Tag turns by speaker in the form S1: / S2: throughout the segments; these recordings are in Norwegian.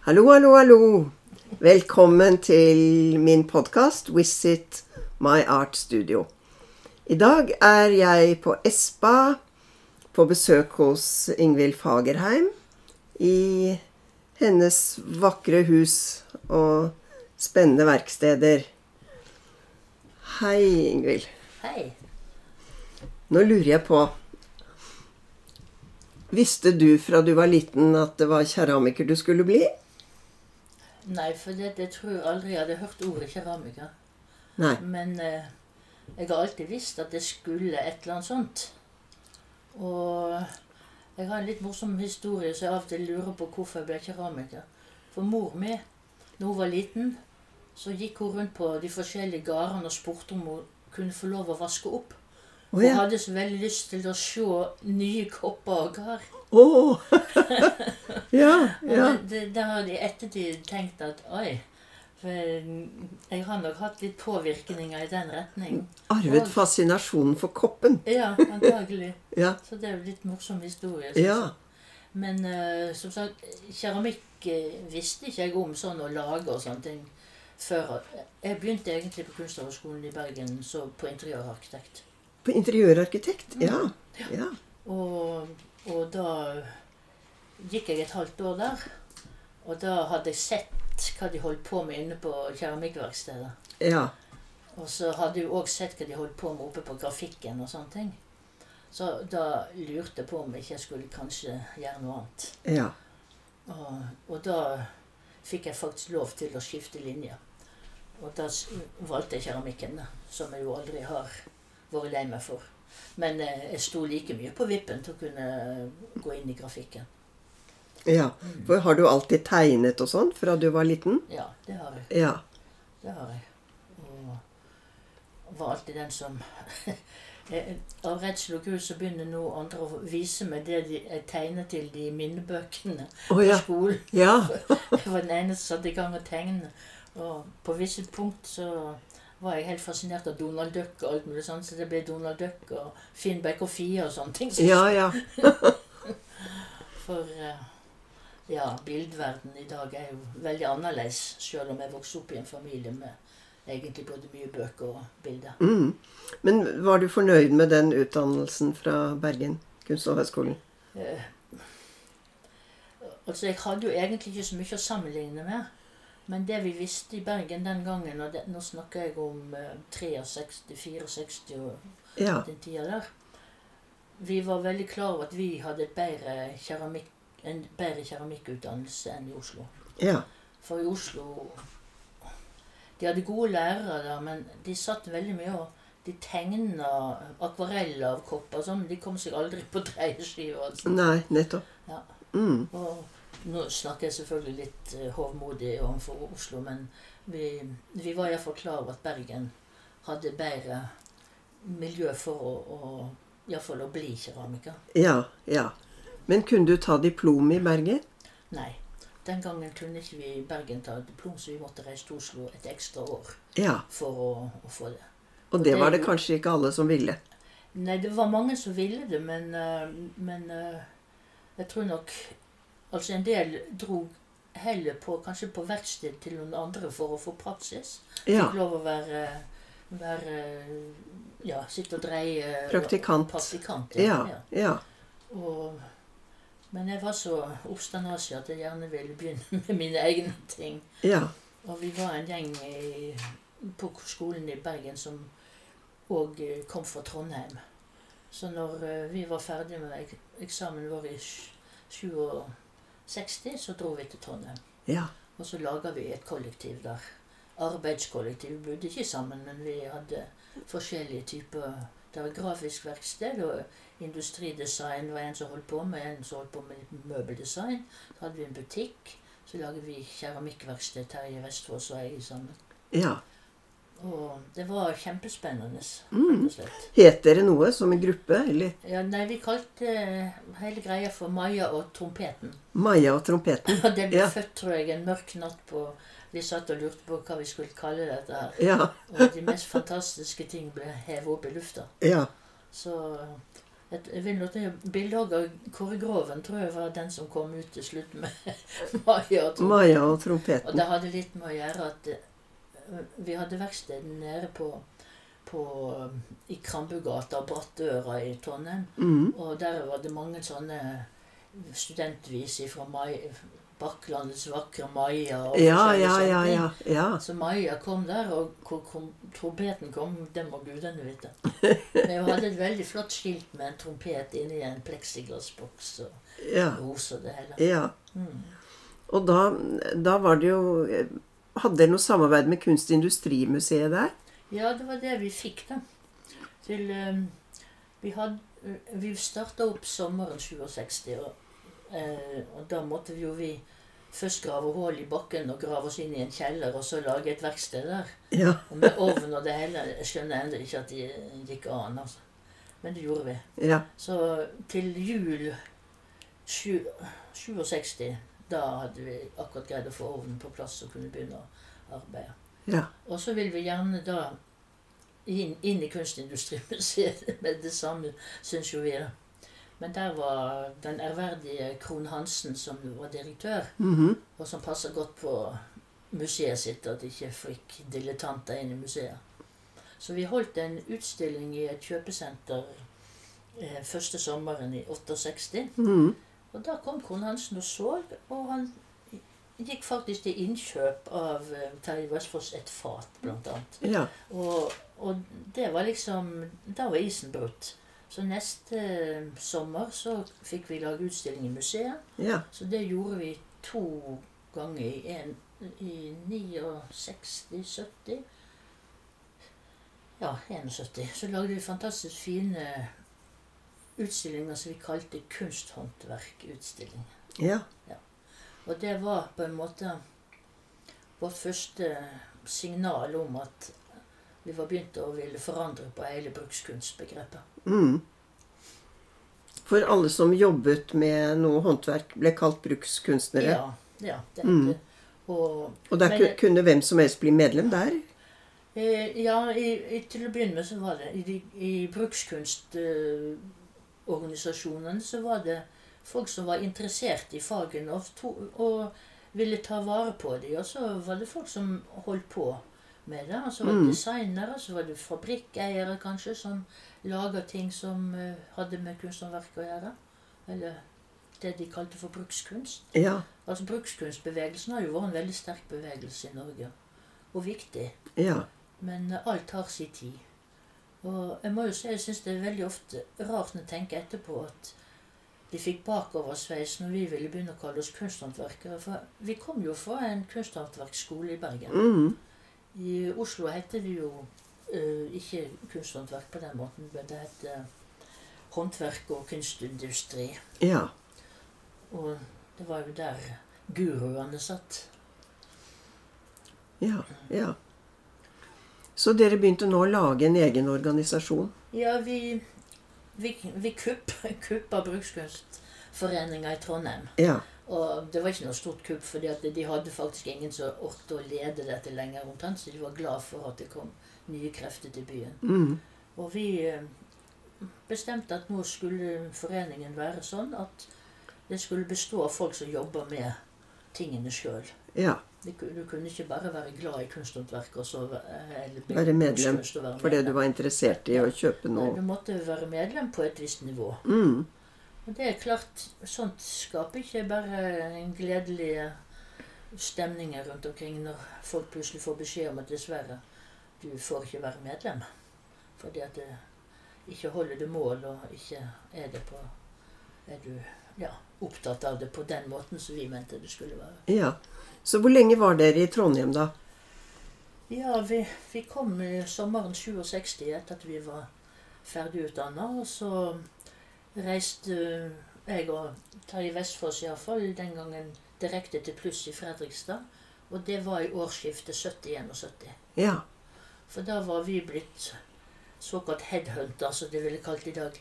S1: Hallo, hallo, hallo. Velkommen til min podkast 'Visit My Art Studio'. I dag er jeg på Espa på besøk hos Ingvild Fagerheim i hennes vakre hus og spennende verksteder. Hei, Ingvild.
S2: Hei.
S1: Nå lurer jeg på Visste du fra du var liten at det var keramiker du skulle bli?
S2: Nei, for det, jeg tror jeg aldri jeg hadde hørt ordet keramiker.
S1: Nei.
S2: Men eh, jeg har alltid visst at jeg skulle et eller annet sånt. Og jeg har en litt morsom historie, så jeg av og til lurer på hvorfor jeg ble keramiker. For mor mi, da hun var liten, så gikk hun rundt på de forskjellige gårdene og spurte om hun kunne få lov å vaske opp.
S1: Å
S2: Hun
S1: ja.
S2: hadde så veldig lyst til å se nye kopper og gard.
S1: Å. ja, ja.
S2: Og det- det- Da har jeg i ettertid tenkt at oi, for jeg har nok hatt litt påvirkninger i den retning.
S1: Arvet fascinasjonen for koppen.
S2: Ja, antagelig.
S1: Ja.
S2: Så det er jo litt morsom historie. synes
S1: ja.
S2: jeg. Men eh, som sagt, keramikk eh, visste ikke jeg om sånn å lage og sånne ting før. Jeg begynte egentlig på Kunsthøgskolen i Bergen så på interiørarkitekt.
S1: På interiørarkitekt. Ja. Mm. ja.
S2: Og, og da gikk jeg et halvt år der. Og da hadde jeg sett hva de holdt på med inne på keramikkverkstedet.
S1: Ja.
S2: Og så hadde jeg òg sett hva de holdt på med oppe på grafikken og sånne ting. Så da lurte jeg på om ikke jeg skulle kanskje gjøre noe annet.
S1: Ja.
S2: Og, og da fikk jeg faktisk lov til å skifte linje. Og da s- valgte jeg keramikken, da, som jeg jo aldri har vært lei meg for. Men eh, jeg sto like mye på vippen til å kunne gå inn i grafikken.
S1: ja. For har du alltid tegnet og sånn fra du var liten?
S2: Ja, det har jeg.
S1: Ja.
S2: Det har jeg. Og var alltid den som Eh, Av redsel og gru så begynner nå andre å vise meg det de jeg tegner til de minnebøkene
S1: Å
S2: på
S1: ja.
S2: skolen.
S1: Ja.
S2: Jeg var den eneste som satte i gang å tegne. Og på visse punkt så var jeg helt fascinert av Donald Duck og alt mulig sånt, så det ble Donald Duck og Finn Beck og Fie og sånne ting.
S1: Ja, ja.
S2: For eh, ja, bildverden i dag er jo veldig annerledes, selv om jeg vokste opp i en familie med egentlig både mye bøker og bilder.
S1: Mm. Men var du fornøyd med den utdannelsen fra Bergen kunst- og høgskolen?
S2: Eh, altså, jeg hadde jo egentlig ikke så mye å sammenligne med. Men det vi visste i Bergen den gangen, og det, nå snakker jeg om eh, 63, 64 og
S1: Ja.
S2: den tida der. Vi var veldig klar over at vi hadde et bedre keramikk, en bedre keramikkutdannelse enn i Oslo.
S1: Ja.
S2: For i Oslo De hadde gode lærere der, men de satt veldig mye og de tegna akvareller av kopper og sånn, men de kom seg aldri på dreieskiva. Altså.
S1: Nei, nettopp.
S2: Ja.
S1: Mm.
S2: Og nå snakker jeg selvfølgelig litt eh, hovmodig overfor Oslo, men vi, vi var iallfall klar over at Bergen hadde bedre miljø for å, å iallfall å bli keramiker.
S1: Ja. Ja. Men kunne du ta diplom i Bergen?
S2: Nei. Den gangen kunne ikke vi i Bergen ta et diplom, så vi måtte reise til Oslo et ekstra år
S1: Ja.
S2: for å, å få det.
S1: Og det var det kanskje ikke alle som ville.
S2: Nei, det var mange som ville det, men, eh, men eh, jeg tror nok Altså, en del dro heller på, kanskje på verksted til noen andre for å få praksis.
S1: Ja.
S2: Fikk lov å være, være Ja, sitte og dreie eh,
S1: Praktikant.
S2: praktikant ja.
S1: Ja. Ja.
S2: Ja. Og, men jeg var så obsternasig at jeg gjerne ville begynne med mine egne ting.
S1: Ja.
S2: Og vi var en gjeng i, på skolen i Bergen som òg kom fra Trondheim. Så når eh, vi var ferdig med ek eksamen vår i sj- 67, så dro vi til Trondheim.
S1: Ja.
S2: Og så laga vi et kollektiv der. Arbeidskollektiv. Vi bodde ikke sammen, men vi hadde forskjellige typer. Det var grafisk verksted og industridesign var en som holdt på med, en som holdt på med litt møbeldesign. Så hadde vi en butikk. Så laget vi keramikkverksted. Terje Vestfoss og jeg sammen.
S1: ja.
S2: Og det var kjempespennende, rett
S1: Mm.
S2: og slett.
S1: Het dere noe som en gruppe? Eller
S2: Ja, nei, vi kalte eh, hele greia for Maja og trompeten.
S1: Maja og trompeten?
S2: Og det ble
S1: Ja.
S2: født, tror jeg, en mørk natt på Vi satt og lurte på hva vi skulle kalle dette her.
S1: Ja.
S2: Og de mest fantastiske ting ble hevet opp i lufta.
S1: Ja.
S2: Så eh, et, jeg vil nå til Bildet av Kåre Groven tror jeg var den som kom ut til slutt med Maja og Tor.
S1: Maja og
S2: Og
S1: trompeten.
S2: det hadde litt med å gjøre at eh, vi hadde verkstedet nede på, på eh, i Krambugata og Brattøra i Trondheim.
S1: Mm.
S2: Og der var det mange sånne studentvis fra Mai, Bakklandets vakre Maja. Og
S1: Ja,
S2: forskjellige
S1: ja,
S2: sånne
S1: ja,
S2: ting.
S1: ja, ja.
S2: Så Altså, Maja kom der, og hvor kom, trompeten kom, det må gudene vite. Men hun hadde et veldig flott skilt med en trompet inni en pleksiglassboks og
S1: ja,
S2: roser og det hele.
S1: ja.
S2: Mm.
S1: Og da, da var det jo Hadde dere noe samarbeid med Kunstindustrimuseet der?
S2: Ja, det var det vi fikk, da. Til, eh, vi had, eh, vi starta opp sommeren 67, og, eh, og da måtte vi jo vi først grave hull i bakken og grave oss inn i en kjeller, og så lage et verksted der.
S1: Ja.
S2: Og med ovn og det hele. Jeg skjønner ennå ikke at det gikk an, altså. Men det gjorde vi.
S1: ja.
S2: Så til jul sju- 67, da hadde vi akkurat greid å få ovnen på plass og kunne begynne å arbeide.
S1: Ja.
S2: Og så vil vi gjerne da inn, inn i Kunstindustrimuseet med det samme, syns jo vi. da. Men der var den ærverdige Krohn Hansen, som jo var direktør,
S1: mhm.
S2: og som passer godt på museet sitt, at de ikke fikk dilettanter inn i museet. Så vi holdt en utstilling i et kjøpesenter eh, første sommeren i 68.
S1: Mhm.
S2: Og da kom Krohn Hansen og så, og han gikk faktisk til innkjøp av eh, Terje Vestfoss et fat, blant annet.
S1: ja.
S2: Og, og det var liksom Da var isen brutt. Så neste eh, sommer så fikk vi lage utstilling i museet.
S1: Ja.
S2: Så det gjorde vi to ganger i en, i 69, 70 Ja, 71. Så lagde vi fantastisk fine utstillinger som vi kalte kunsthåndverkutstilling.
S1: Ja.
S2: Og det var på en måte vårt første signal om at vi var begynt å ville forandre på hele brukskunstbegrepet.
S1: Mm. For alle som jobbet med noe håndverk, ble kalt brukskunstnere.
S2: Ja, ja, det
S1: Mm.
S2: heter Og
S1: Og der
S2: Men
S1: ku-
S2: det-
S1: kunne hvem som helst bli medlem der?
S2: Eh, ja, i, i, til å begynne med så var det I, de- i brukskunstorganisasjonene så var det folk som var interessert i fagene og, to, og ville ta vare på dem. Og så var det folk som holdt på med det. Og så var det
S1: Mm.
S2: designere, så var det fabrikkeiere kanskje, som laga ting som eh, hadde med kunsthåndverk å gjøre. Eller det de kalte for brukskunst.
S1: Ja.
S2: Altså Brukskunstbevegelsen har jo vært en veldig sterk bevegelse i Norge, og viktig.
S1: Ja.
S2: Men eh, alt har sin tid. Og jeg må jo si jeg syns det er veldig ofte rart når jeg tenker etterpå at de fikk bakoversveis når vi ville begynne å kalle oss kunsthåndverkere. For vi kom jo fra en kunsthåndverksskole i Bergen.
S1: Mm.
S2: I Oslo heter det jo eh, ikke kunsthåndverk på den måten, men det heter håndverk og kunstindustri.
S1: Ja.
S2: Og det var jo der guruene satt.
S1: Ja. Ja. Så dere begynte nå å lage en egen organisasjon?
S2: Ja, vi, vi, vi kupp, kuppa Brukskunstforeninga i Trondheim.
S1: Ja.
S2: Og det var ikke noe stort kupp, for de hadde faktisk ingen som orket å lede dette lenger, omtrent, så de var glad for at det kom nye krefter til byen.
S1: Mm.
S2: Og vi eh, bestemte at nå skulle foreningen være sånn at det skulle bestå av folk som jobber med tingene sjøl.
S1: Ja.
S2: Du kunne ikke bare være glad i kunsthåndverk og så eh, eller
S1: Være medlem,
S2: kunstkunst og være
S1: Fordi du
S2: medlem.
S1: var interessert i å kjøpe
S2: Nei, Du
S1: noe?
S2: måtte være medlem på et visst nivå.
S1: Mm.
S2: Og det er klart, sånt skaper ikke bare en gledelig stemning rundt omkring når folk plutselig får beskjed om at dessverre, du får ikke være medlem. Fordi at det ikke holder det mål, og ikke er det på Er du ja, opptatt av det på den måten som vi mente det skulle være.
S1: Ja. Så hvor lenge var dere i Trondheim, da?
S2: Ja, vi, vi kom i sommeren 67 etter at vi var ferdig utdanna. Og så reiste jeg og Terje Vestfoss iallfall den gangen direkte til Pluss i Fredrikstad. Og det var i årsskiftet 70-71.
S1: Ja.
S2: For da var vi blitt såkalt headhunter, som de ville kalt i dag,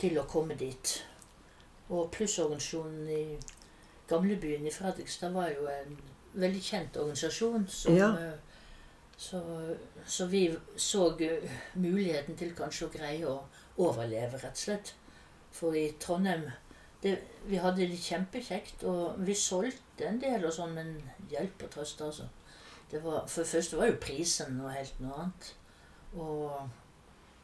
S2: til å komme dit. Og plussorganisasjonen i gamlebyen i Fredrikstad var jo en veldig kjent organisasjon som
S1: Ja.
S2: eh, så, så vi så eh, muligheten til kanskje å greie å overleve, rett og slett. For i Trondheim det, Vi hadde det kjempekjekt, og vi solgte en del og sånn, men hjelp og trøst, altså. Det var, for det første var jo prisen noe helt noe annet. Og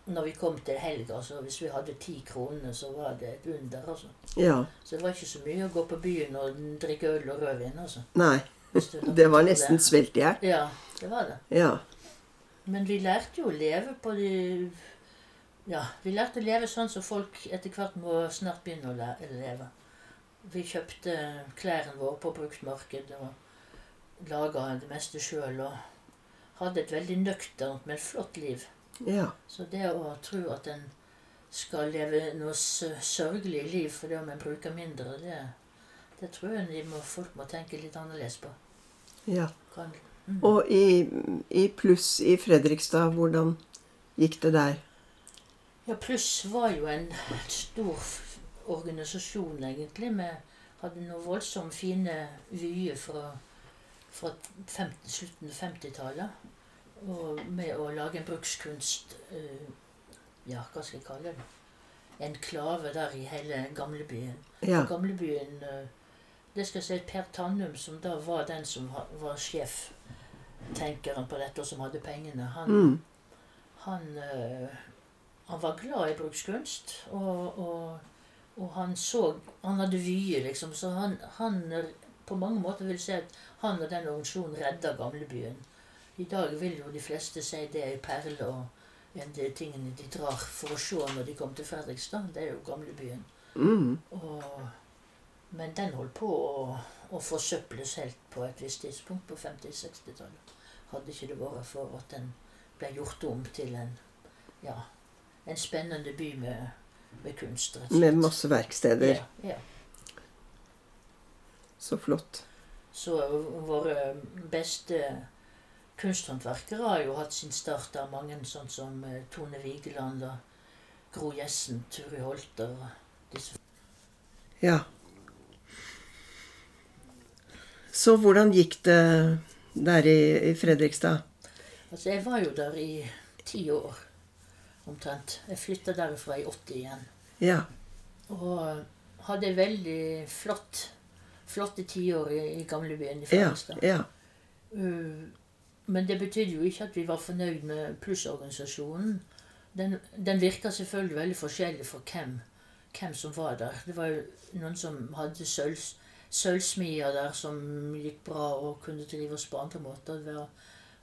S2: når vi kom til helga, så hvis vi hadde ti kroner, så var det et under, altså.
S1: Ja.
S2: Så det var ikke så mye å gå på byen og drikke øl og rødvin, altså.
S1: Nei.
S2: hvis du la
S1: Det var
S2: merke til
S1: nesten
S2: det.
S1: svelt i hjel.
S2: Ja, det var det.
S1: Ja.
S2: Men vi lærte jo å leve på de Ja, vi lærte å leve sånn som folk etter hvert må snart begynne å læ- leve. Vi kjøpte klærne våre på bruktmarked og laga det meste sjøl og hadde et veldig nøkternt, men flott liv.
S1: ja.
S2: Så det å tro at en skal leve noe sø- sørgelig liv fordi om en bruker mindre, det, det tror jeg de må, folk må tenke litt annerledes på.
S1: ja.
S2: Kan, mm.
S1: Og i, i pluss i Fredrikstad, hvordan gikk det der?
S2: Ja, Pluss var jo en stor f- organisasjon, egentlig. Vi hadde noen voldsomt fine vyer fra, fra 15, slutten av 50-tallet. Og med å lage en brukskunst eh, Ja, hva skal jeg kalle det? Enklave der i hele gamlebyen.
S1: Ja.
S2: Gamlebyen eh, Det skal jeg si Per Tannum, som da var den som ha- var sjeftenkeren på dette, og som hadde pengene, han
S1: Mm.
S2: han, eh, han var glad i brukskunst, og, og, og han så Han hadde vyer, liksom. Så han, han eh, på mange måter vil si at han og den organisasjonen redda gamlebyen. I dag vil jo de fleste si det er perle og en av de tingene de drar for å se når de kommer til Fredrikstad. Det er jo gamlebyen.
S1: Mm.
S2: Og, men den holdt på å, å forsøples helt på et visst tidspunkt på 50-60-tallet. Hadde ikke det vært for at den ble gjort om til en, ja, en spennende by med, med kunst, rett
S1: Med masse verksteder.
S2: Ja, ja.
S1: Så flott.
S2: Så våre beste kunsthåndverkere har jo hatt sin start av mange, sånn som eh, Tone Vigeland og Gro Jessen, Turi Holter og disse
S1: Ja. Så hvordan gikk det der i, i Fredrikstad?
S2: Altså, jeg var jo der i ti år, omtrent. Jeg flytta derfra i 80 igjen.
S1: Ja.
S2: Og eh, hadde en veldig flott, flotte tiår i, i gamlebyen i
S1: Ja.
S2: Fredrikstad.
S1: ja.
S2: Uh, men det betydde jo ikke at vi var fornøyd med plussorganisasjonen. Den, den virka selvfølgelig veldig forskjellig for hvem, hvem som var der. Det var jo noen som hadde sølvs, sølvsmier der som gikk bra og kunne drives på andre måter. Det var,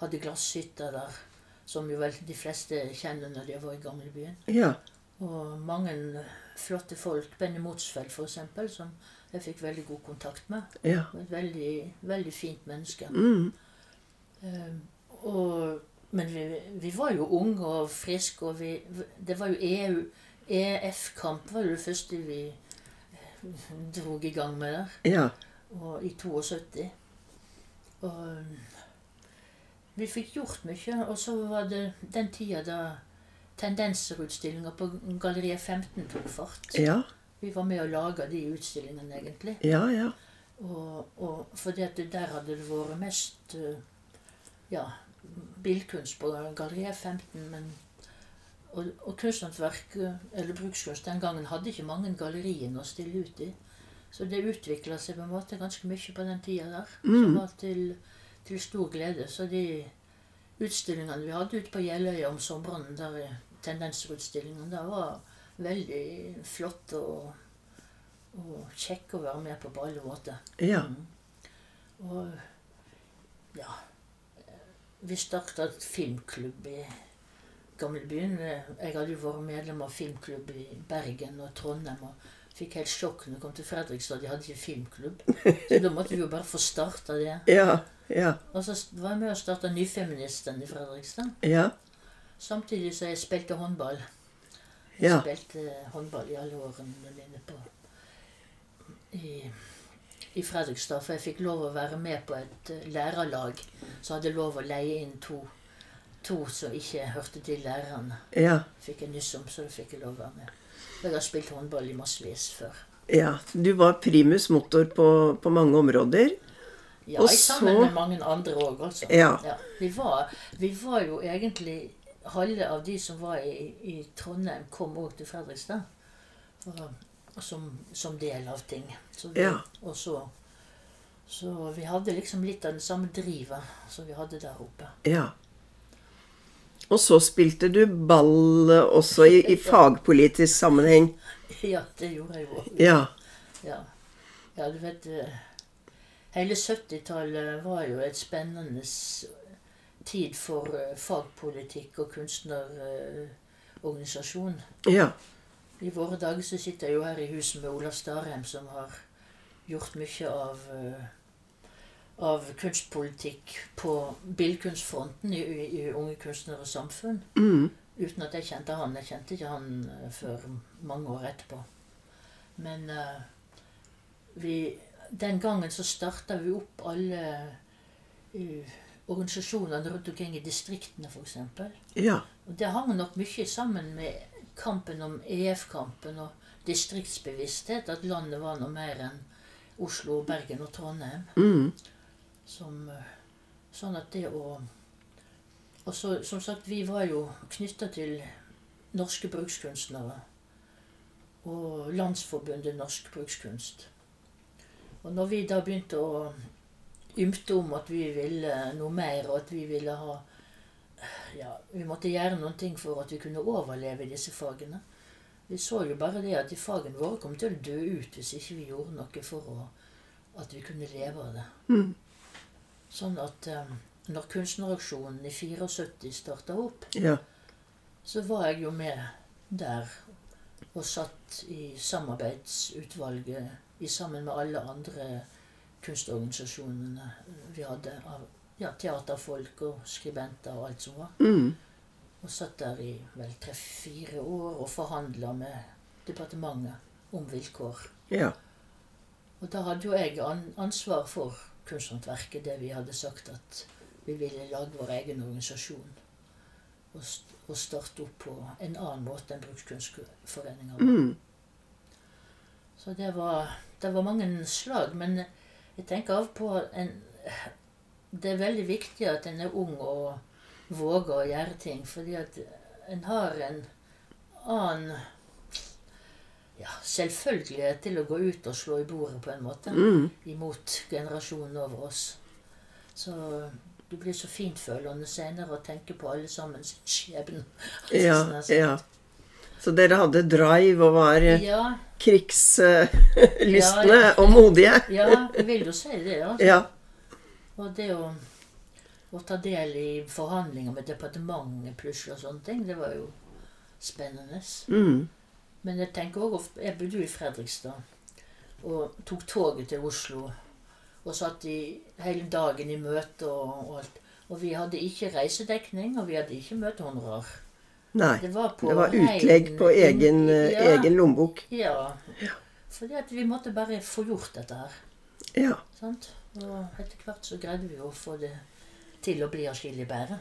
S2: hadde glasshytter der, som jo vel de fleste kjenner når de har vært i gamlebyen.
S1: ja.
S2: Og mange flotte folk. Benny Motsfeldt, for eksempel, som jeg fikk veldig god kontakt med.
S1: ja.
S2: Og Et veldig, veldig fint menneske.
S1: Mm.
S2: Eh, og, men vi, vi var jo unge og friske, og vi, det var jo E EU EF-kamp var jo det første vi eh, drog i gang med der,
S1: Ja.
S2: og, i 72. Og eh, vi fikk gjort mye, og så var det den tida da tendenserutstillinger på Galleriet 15 tok fart.
S1: Ja.
S2: Vi var med og laga de utstillingene, egentlig.
S1: Ja. ja.
S2: Og, og fordi at det der hadde det vært mest eh, ja, bilkunst på Galleriet 15, men og, og kunsthåndverk, eh, eller brukskunst, den gangen hadde ikke mange galleriene å stille ut i. Så det utvikla seg på en måte ganske mye på den tida der, som
S1: Mm.
S2: var til, til stor glede. Så de utstillingene vi hadde ute på Jeløya om sommeren, der tendenserutstillingene, der var veldig flott og, og kjekk å være med på på alle måter.
S1: ja.
S2: Mm. Og ja Vi starta et filmklubb i gamlebyen. Jeg hadde jo vært medlem av filmklubb i Bergen og Trondheim. og Fikk helt sjokk når jeg kom til Fredrikstad. De hadde ikke filmklubb. Så da måtte vi jo bare få starta det.
S1: Ja. Ja.
S2: Og så var jeg med og starta Nyfeministen i Fredrikstad.
S1: Ja.
S2: Samtidig så jeg spilte håndball. Jeg
S1: Ja.
S2: spilte eh, håndball i alle årene mine på i, i Fredrikstad, for jeg fikk lov å være med på et eh, lærerlag som hadde lov å leie inn to, to som ikke hørte til lærerne.
S1: ja.
S2: Fikk jeg nyss om, så da fikk jeg lov å være med. Jeg har spilt håndball i massevis før.
S1: ja. Du var primus motor på, på mange områder.
S2: Ja,
S1: Og
S2: jeg sammen
S1: så-
S2: med mange andre òg, altså.
S1: Ja.
S2: vi, var, vi var jo egentlig Halve av de som var i, i Trondheim, kom òg til Fredrikstad. og, og som, som del av ting. Så vi,
S1: Ja.
S2: Og så, så vi hadde liksom litt av den samme drivet som vi hadde der oppe.
S1: ja. Og så spilte du ball eh, også i, i fagpolitisk sammenheng.
S2: Ja, det gjorde jeg jo.
S1: Ja.
S2: Ja. ja, du vet eh, Hele 70-tallet var jo et spennende s- tid for eh, fagpolitikk og kunstnerorganisasjon.
S1: Ja.
S2: I våre dager så sitter jeg jo her i huset med Olav Starheim, som har gjort mye av, eh, av kunstpolitikk på billedkunstfronten i, i, i Unge kunstnere og samfunn.
S1: Mm.
S2: Uten at jeg kjente han. Jeg kjente ikke han eh, før mange år etterpå. Men eh, vi, den gangen så starta vi opp alle eh, organisasjonene rundt omkring i distriktene, f.eks.
S1: Ja.
S2: Og Det hang nok mye sammen med kampen om EF-kampen og distriktsbevissthet, at landet var noe mer enn Oslo, Bergen og Trondheim.
S1: Mm.
S2: Som, eh, sånn at det å Og så, som sagt, vi var jo knytta til norske brukskunstnere. Og Landsforbundet Norsk Brukskunst. Og når vi da begynte å ymte om at vi ville noe mer, og at vi ville ha ja, Vi måtte gjøre noen ting for at vi kunne overleve i disse fagene. Vi så jo bare det at de fagene våre kom til å dø ut hvis ikke vi gjorde noe for å, at vi kunne leve av det.
S1: Mm.
S2: Sånn at eh, når kunstneraksjonen i 74 starta opp,
S1: Ja.
S2: så var jeg jo med der og satt i samarbeidsutvalget i sammen med alle andre kunstorganisasjonene eh, vi hadde. Av, ja, teaterfolk og skribenter og alt som var.
S1: Mm.
S2: Og satt der i vel tre-fire år og forhandla med departementet om vilkår.
S1: Ja.
S2: Og da hadde jo jeg an ansvar for kunsthåndverket, det vi hadde sagt at vi ville lage vår egen organisasjon. Og, st og starte opp på en annen måte enn Brukskunstforeninga. var.
S1: Mm.
S2: Så det var, det var mange slag. Men jeg tenker av på en, Det er veldig viktig at en er ung og våger å gjøre ting. Fordi at en har en annen ja, selvfølgelighet til å gå ut og slå i bordet, på en måte
S1: Mm.
S2: imot generasjonen over oss. Så du blir så fintfølende senere og tenker på alle sammen sin skjebne.
S1: Ja.
S2: Sånn, altså.
S1: Ja. Så dere hadde drive og var eh,
S2: ja.
S1: krigslystne og modige?
S2: Ja, jeg vil jo si det. Ja.
S1: Ja.
S2: Og det å, å ta del i forhandlinger med departementet plutselig og sånne ting, det var jo spennende.
S1: Mm.
S2: Men jeg tenker også, ofte- jeg bodde jo i Fredrikstad og tok toget til Oslo og satt i, hele dagen i møte og, og alt. Og vi hadde ikke reisedekning, og vi hadde ikke møtehonorar.
S1: Nei.
S2: Det var, på
S1: Det var utlegg på egen, eh,
S2: ja,
S1: egen lommebok.
S2: Ja. Fordi at vi måtte bare få gjort dette her.
S1: Ja.
S2: sant? Og etter hvert så greide vi jo å få det til å bli atskillig bedre.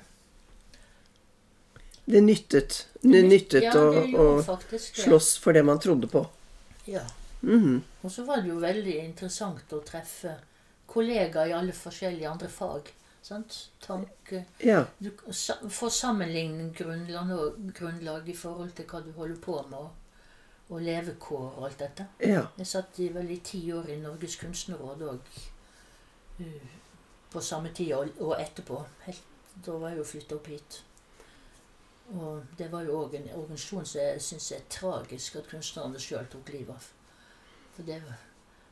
S1: Det nyttet. Det nyttet
S2: ja,
S1: å,
S2: det
S1: å
S2: gjorde faktisk det.
S1: slåss for det man trodde på.
S2: Ja.
S1: Mhm.
S2: Og så var det jo veldig interessant å treffe kollegaer i alle forskjellige andre fag. sant? Tanke
S1: Ja.
S2: Du k- sa- får sammenligningsgrunnlag og- grunnlag i forhold til hva du holder på med, og, og levekår og alt dette.
S1: Ja.
S2: Jeg satt i vel i ti år i Norges kunstnerråd òg. På samme tid og, og etterpå. Helt, da var jeg jo flytta opp hit. Og det var jo òg en organisasjon som jeg syns er tragisk at kunstnerne sjøl tok livet av. For det, var-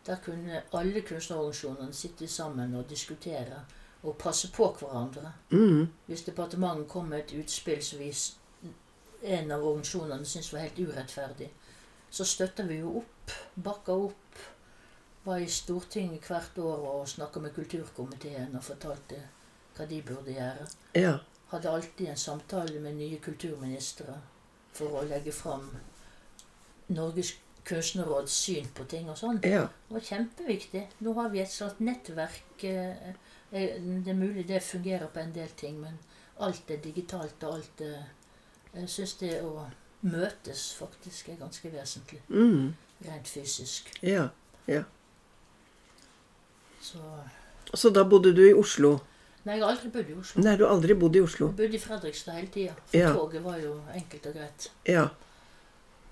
S2: der kunne alle kunstnerorganisasjonene sitte sammen og diskutere og passe på hverandre.
S1: Mhm.
S2: Hvis departementet kom med et utspill som vi, s- en av organisasjonene syntes var helt urettferdig, så støtta vi jo opp, bakka opp. Var i Stortinget hvert år og snakka med kulturkomiteen og fortalte hva de burde gjøre.
S1: ja.
S2: Hadde alltid en samtale med nye kulturministre for å legge fram Norges kunstnerråds syn på ting og sånn.
S1: Ja.
S2: Det var kjempeviktig. Nå har vi et slags nettverk. eh, eh, Det er mulig det fungerer på en del ting, men alt er digitalt, og alt er Jeg syns det å møtes faktisk er ganske vesentlig,
S1: Mhm.
S2: rent fysisk.
S1: ja.
S2: Så
S1: Så da bodde du i Oslo?
S2: Nei, jeg har aldri bodd i Oslo.
S1: Nei, du har aldri bodd i
S2: Jeg
S1: Oslo.
S2: bodde i Fredrikstad hele tida, for
S1: Ja.
S2: toget var jo enkelt og greit.
S1: Ja.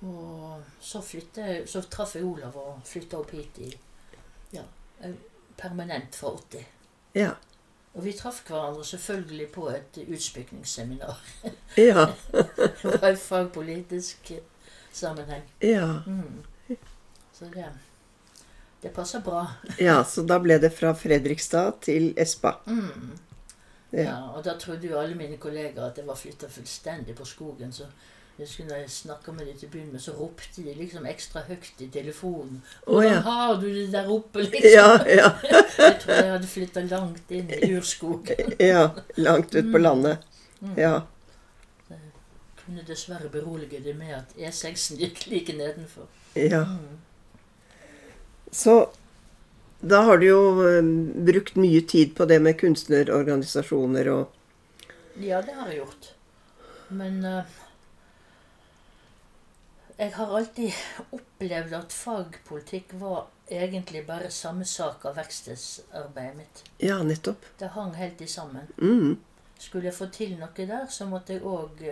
S2: Og så, flyttet jeg- så traff jeg Olav og flytta opp hit i, ja, eh, permanent fra 80.
S1: Ja.
S2: Og vi traff hverandre selvfølgelig på et utspykningsseminar.
S1: Ja.
S2: Det var i fagpolitisk eh, sammenheng.
S1: Ja.
S2: Mm. Så det, det passer bra.
S1: ja. Så da ble det fra Fredrikstad til Espa.
S2: Mm.
S1: Ja.
S2: Ja, og da trodde jo alle mine kolleger at jeg var flytta fullstendig på skogen. så jeg husker når jeg snakka med de til å begynne med, så ropte de liksom ekstra høyt i telefonen.
S1: Å
S2: 'Hvordan
S1: ja.
S2: har du det der oppe?' liksom.
S1: Ja, ja.
S2: Jeg tror jeg hadde flytta langt inn i urskogen.
S1: ja. Langt ut på landet.
S2: Mm.
S1: Ja.
S2: Kunne dessverre berolige det med at E6-en gikk like nedenfor.
S1: Ja.
S2: Mm.
S1: Så da har du jo eh, brukt mye tid på det med kunstnerorganisasjoner og
S2: Ja, det har jeg gjort. Men eh, jeg har alltid opplevd at fagpolitikk var egentlig bare samme sak av verkstedsarbeidet mitt.
S1: Ja, nettopp.
S2: Det hang helt i sammen.
S1: Mm.
S2: Skulle jeg få til noe der, så måtte jeg òg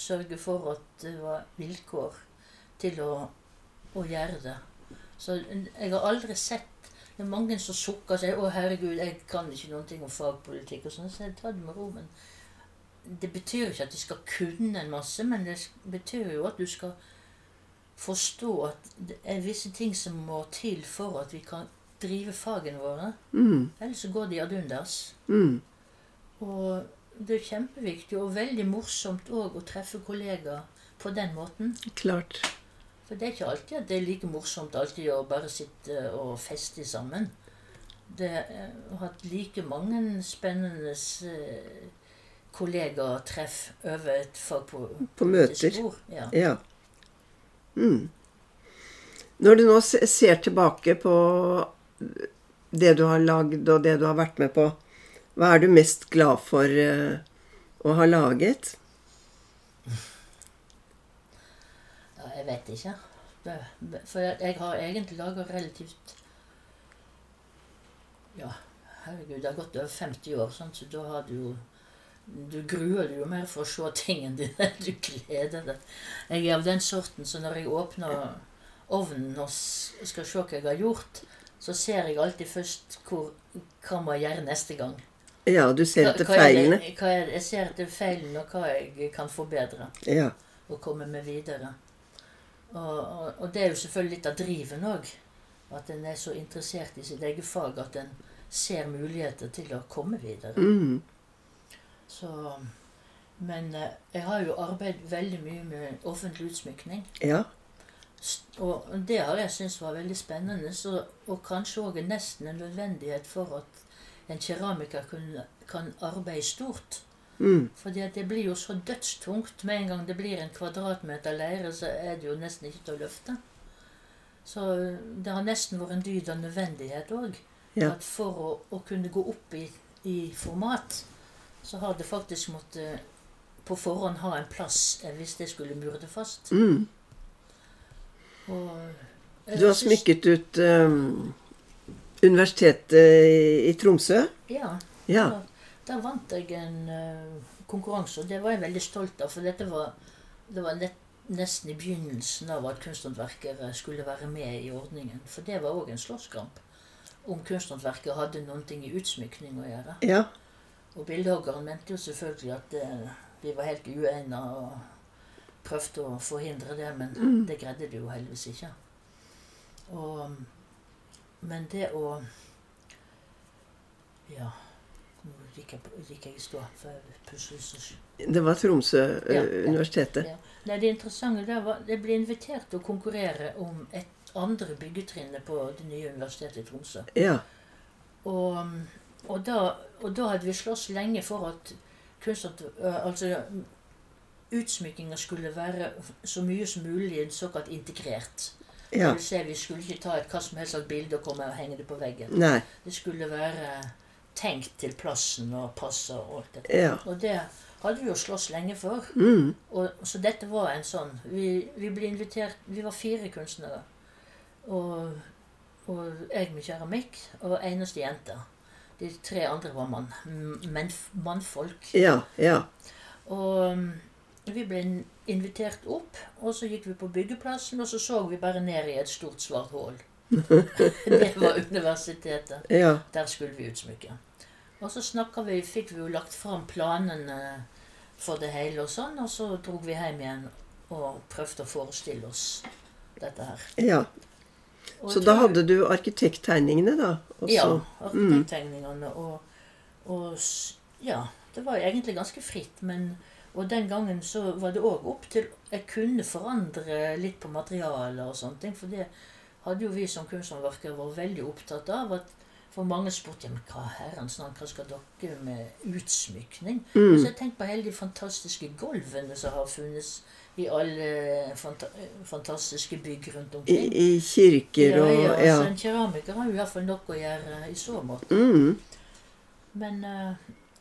S2: sørge for at det var vilkår til å, å gjøre det. Så jeg har aldri sett Det er mange som sukker og sier 'Å, herregud, jeg kan ikke noen ting om fagpolitikk', og sånn. Så jeg tar det med ro. Men det betyr ikke at du skal kunne en masse, men det betyr jo at du skal forstå at det er visse ting som må til for at vi kan drive fagene våre.
S1: Mm.
S2: Ellers så går de ad undas.
S1: Mm.
S2: Og det er kjempeviktig og veldig morsomt òg å treffe kollegaer på den måten.
S1: Klart.
S2: For det er ikke alltid at det er like morsomt alltid å bare sitte og feste sammen. Det eh, jeg har hatt like mange spennende eh, kollegatreff over et fag på,
S1: På møter.
S2: bord. Ja.
S1: Ja. Mm. Når du nå se- ser tilbake på det du har lagd og det du har vært med på, hva er du mest glad for eh, å ha laget?
S2: Ja, jeg vet ikke. Det, for jeg, jeg har egentlig laga relativt Ja, herregud, det har gått over 50 år, sant? så da har du jo Du gruer deg jo mer for å se tingene dine. Du gleder deg. Jeg er av den sorten så når jeg åpner ovnen og s- skal se hva jeg har gjort, så ser jeg alltid først hvor, hva må jeg gjøre neste gang.
S1: Ja, du ser etter
S2: Hva- hva er det-
S1: feilene.
S2: hva er det- Jeg ser etter feilene og hva jeg kan forbedre
S1: Ja.
S2: og komme med videre. Og, og, og det er jo selvfølgelig litt av driven òg. At en er så interessert i sitt eget fag at en ser muligheter til å komme videre.
S1: Mm.
S2: Så, men eh, jeg har jo arbeidet veldig mye med offentlig utsmykning.
S1: Ja.
S2: S- Og det har jeg syntes var veldig spennende, så, og kanskje òg nesten en nødvendighet for at en keramiker kunne, kan arbeide stort.
S1: Mm.
S2: Fordi at det blir jo så dødstungt med en gang det blir en kvadratmeter leire, så er det jo nesten ikke til å løfte. Så det har nesten vært en dyd av nødvendighet òg.
S1: Ja.
S2: At for å, å kunne gå opp i, i format, så har det faktisk måttet på forhånd ha en plass eh, hvis det skulle mure det fast.
S1: Mm.
S2: Og, eh, jeg
S1: Du har
S2: synes-
S1: smykket ut ehm, Universitetet i Tromsø.
S2: Ja.
S1: Ja.
S2: Da vant jeg en eh, konkurranse, og det var jeg veldig stolt av. For dette var, det var nett, nesten i begynnelsen av at kunsthåndverkere skulle være med i ordningen. For det var òg en slåsskamp om kunsthåndverkere hadde noen ting i utsmykning å gjøre.
S1: Ja.
S2: Og bildehoggeren mente jo selvfølgelig at eh, vi var helt uegna og prøvde å forhindre det, men det greide de jo heldigvis ikke. Og, men det å Ja, nå gikk jeg, på- gikk jeg i stå, for jeg pusler så sj-
S1: Det var Tromsø eh,
S2: Ja, ja.
S1: universitetet.
S2: ja. Nei, Det interessante der var jeg ble invitert til å konkurrere om et andre byggetrinnet på det nye universitetet i Tromsø.
S1: Ja.
S2: Og, og, da, og da hadde vi slåss lenge for at kunstner, øh, altså, utsmykninger skulle være så mye som mulig såkalt integrert. Det
S1: Ja.
S2: vil si, vi skulle ikke ta et hva som helst slags bilde og komme og henge det på veggen.
S1: Nei.
S2: Det skulle være tenkt til plassen og passe og alt det.
S1: Ja.
S2: Og det hadde vi jo slåss lenge for.
S1: Mm.
S2: Og, så dette var en sånn Vi, vi ble invitert Vi var fire kunstnere. Og, og jeg med keramikk og eneste jente. De tre andre var mann. m- menn- mannfolk.
S1: Ja. Ja.
S2: Og, Vi ble in- invitert opp, og så gikk vi på byggeplassen, og så så vi bare ned i et stort, svart hull. det var universitetet.
S1: Ja.
S2: Der skulle vi utsmykke. Og så snakket vi, fikk vi jo lagt fram planene for det hele og sånn, og så drog vi hjem igjen og prøvde å forestille oss dette her.
S1: ja.
S2: Og
S1: Så
S2: jeg
S1: da
S2: tror-
S1: hadde du arkitekttegningene, da? Også.
S2: Ja, arkitekttegningene og, og s- Ja, det var egentlig ganske fritt, men Og den gangen så var det òg opp til Jeg kunne forandre litt på materialer og sånne ting, for det hadde jo vi som kunsthåndverkere vært veldig opptatt av at for mange spurte ja, men hva herrens navn, hva skal dere med utsmykning?
S1: Mm.
S2: Og så har jeg tenkt på alle de fantastiske gulvene som har funnes i alle fanta fantastiske bygg rundt
S1: I,
S2: omkring.
S1: I kirker
S2: Ja,
S1: og
S2: ja, altså-
S1: ja.
S2: Så en keramiker har jo i hvert fall nok å gjøre i så måte.
S1: Mm.
S2: Men eh,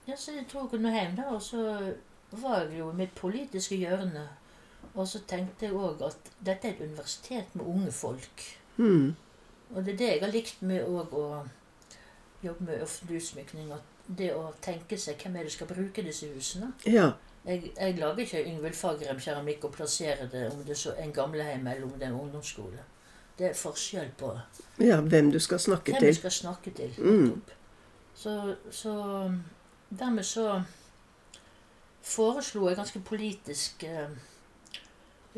S2: ja, så jeg tok nå hjem, da, og så var jeg jo i mitt politiske hjørne. Og så tenkte jeg òg at dette er et universitet med unge folk.
S1: Mm.
S2: Og det er det jeg har likt med òg å jobbe med offentlig utsmykning. At det å tenke seg hvem er det som skal bruke disse husene.
S1: ja.
S2: Jeg, jeg lager ikke Yngvild Fagerheim-keramikk og plasserer det om det er så en gamlehjem eller om det er en ungdomsskole. Det er forskjell på
S1: Ja, hvem du skal snakke
S2: Hvem vi
S1: til.
S2: skal snakke til.
S1: Mm.
S2: nettopp. Så, så mm, dermed så foreslo jeg ganske politisk eh,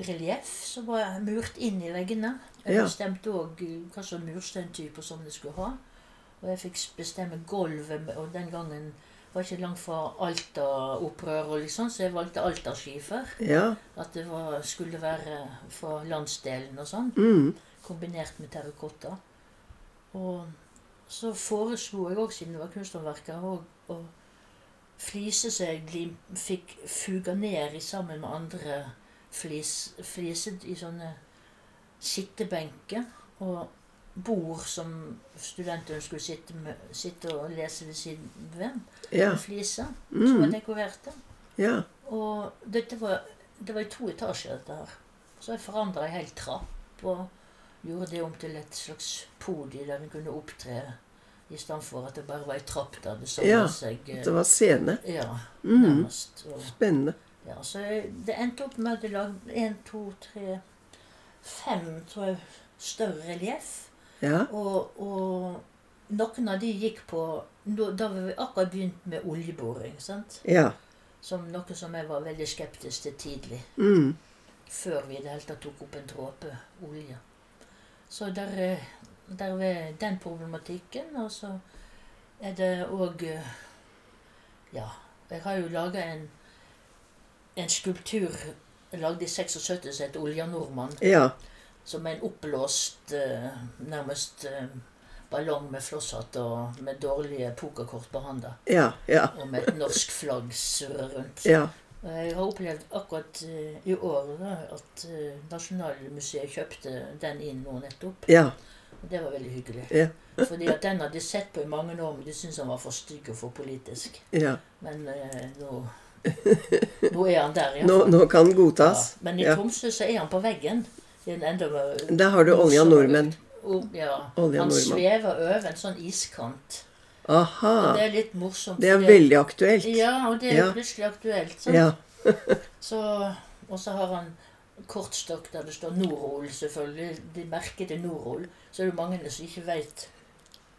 S2: relieff som var murt inn i veggene. Jeg
S1: Ja.
S2: bestemte òg hva slags mursteintype og sånn jeg skulle ha. Og jeg fikk bestemme gulvet, og den gangen var jeg ikke langt fra Alta-opprøret, og liksom, så jeg valgte Alta-skifer.
S1: Ja.
S2: At det var, skulle være fra landsdelen og sånn
S1: Mm.
S2: kombinert med terrakotta. Og så foreslo jeg òg, siden jeg var kunsthåndverker, å- å flise som jeg lim, fikk fuga ned i sammen med andre flis, fliser i sånne sittebenker. Og bord som studentene skulle sitte, med, sitte og lese ved siden ved.
S1: Ja.
S2: med Fliser som var
S1: Mm.
S2: dekorerte.
S1: ja.
S2: Og dette var, det var i to etasjer, dette her. Så jeg forandra ei hel trapp og gjorde det om til et slags podium der en kunne opptre, i stedet for at det bare var ei trapp der det samla
S1: Ja,
S2: seg eh,
S1: Det var scene.
S2: Ja,
S1: Mm.
S2: nærmest. Og,
S1: Spennende.
S2: ja, så jeg, det endte opp med at jeg lagde én, to, tre, fem tror jeg, større relieff.
S1: Ja.
S2: Og, og noen av de gikk på Da da var vi akkurat begynt med oljeboring. sant?
S1: Ja.
S2: Som noe som jeg var veldig skeptisk til tidlig.
S1: Mm.
S2: før vi i det hele tatt tok opp en dråpe olje. Så der, eh, der er den problematikken, og så er det òg eh, Ja, jeg har jo laga en, en skulptur lagd i 76 som heter 'Olja nordmann',
S1: Ja.
S2: som er en oppblåst, eh, nærmest eh, ballong med flosshatt og med dårlige pokerkort på handa,
S1: Ja. Ja.
S2: og med et norsk flagg surrer rundt.
S1: Ja.
S2: Og Jeg har opplevd akkurat eh, i år da, at eh, Nasjonalmuseet kjøpte den inn nå nettopp.
S1: Ja.
S2: Og det var veldig hyggelig.
S1: Ja.
S2: Fordi at den hadde de sett på i mange år, men de syntes han var for stygg og for politisk.
S1: ja.
S2: Men eh, nå, nå er han der,
S1: Nå, nå kan den
S2: Ja.
S1: godtas.
S2: Men i
S1: ja.
S2: Tromsø så er han på veggen. I en enda
S1: Der har du olja nordmenn.
S2: Oh, ja.
S1: Olje av
S2: Han
S1: nordmenn.
S2: svever over en sånn iskant. Og
S1: Aha.
S2: det er litt morsomt.
S1: Ah. Det er
S2: fordi-
S1: veldig aktuelt.
S2: Ja, og det er jo
S1: Ja.
S2: plutselig aktuelt. sant?
S1: Ja.
S2: Så, og så har han kortstokk der det står Norol, selvfølgelig. De merker det Norol. Så er det mange som ikke vet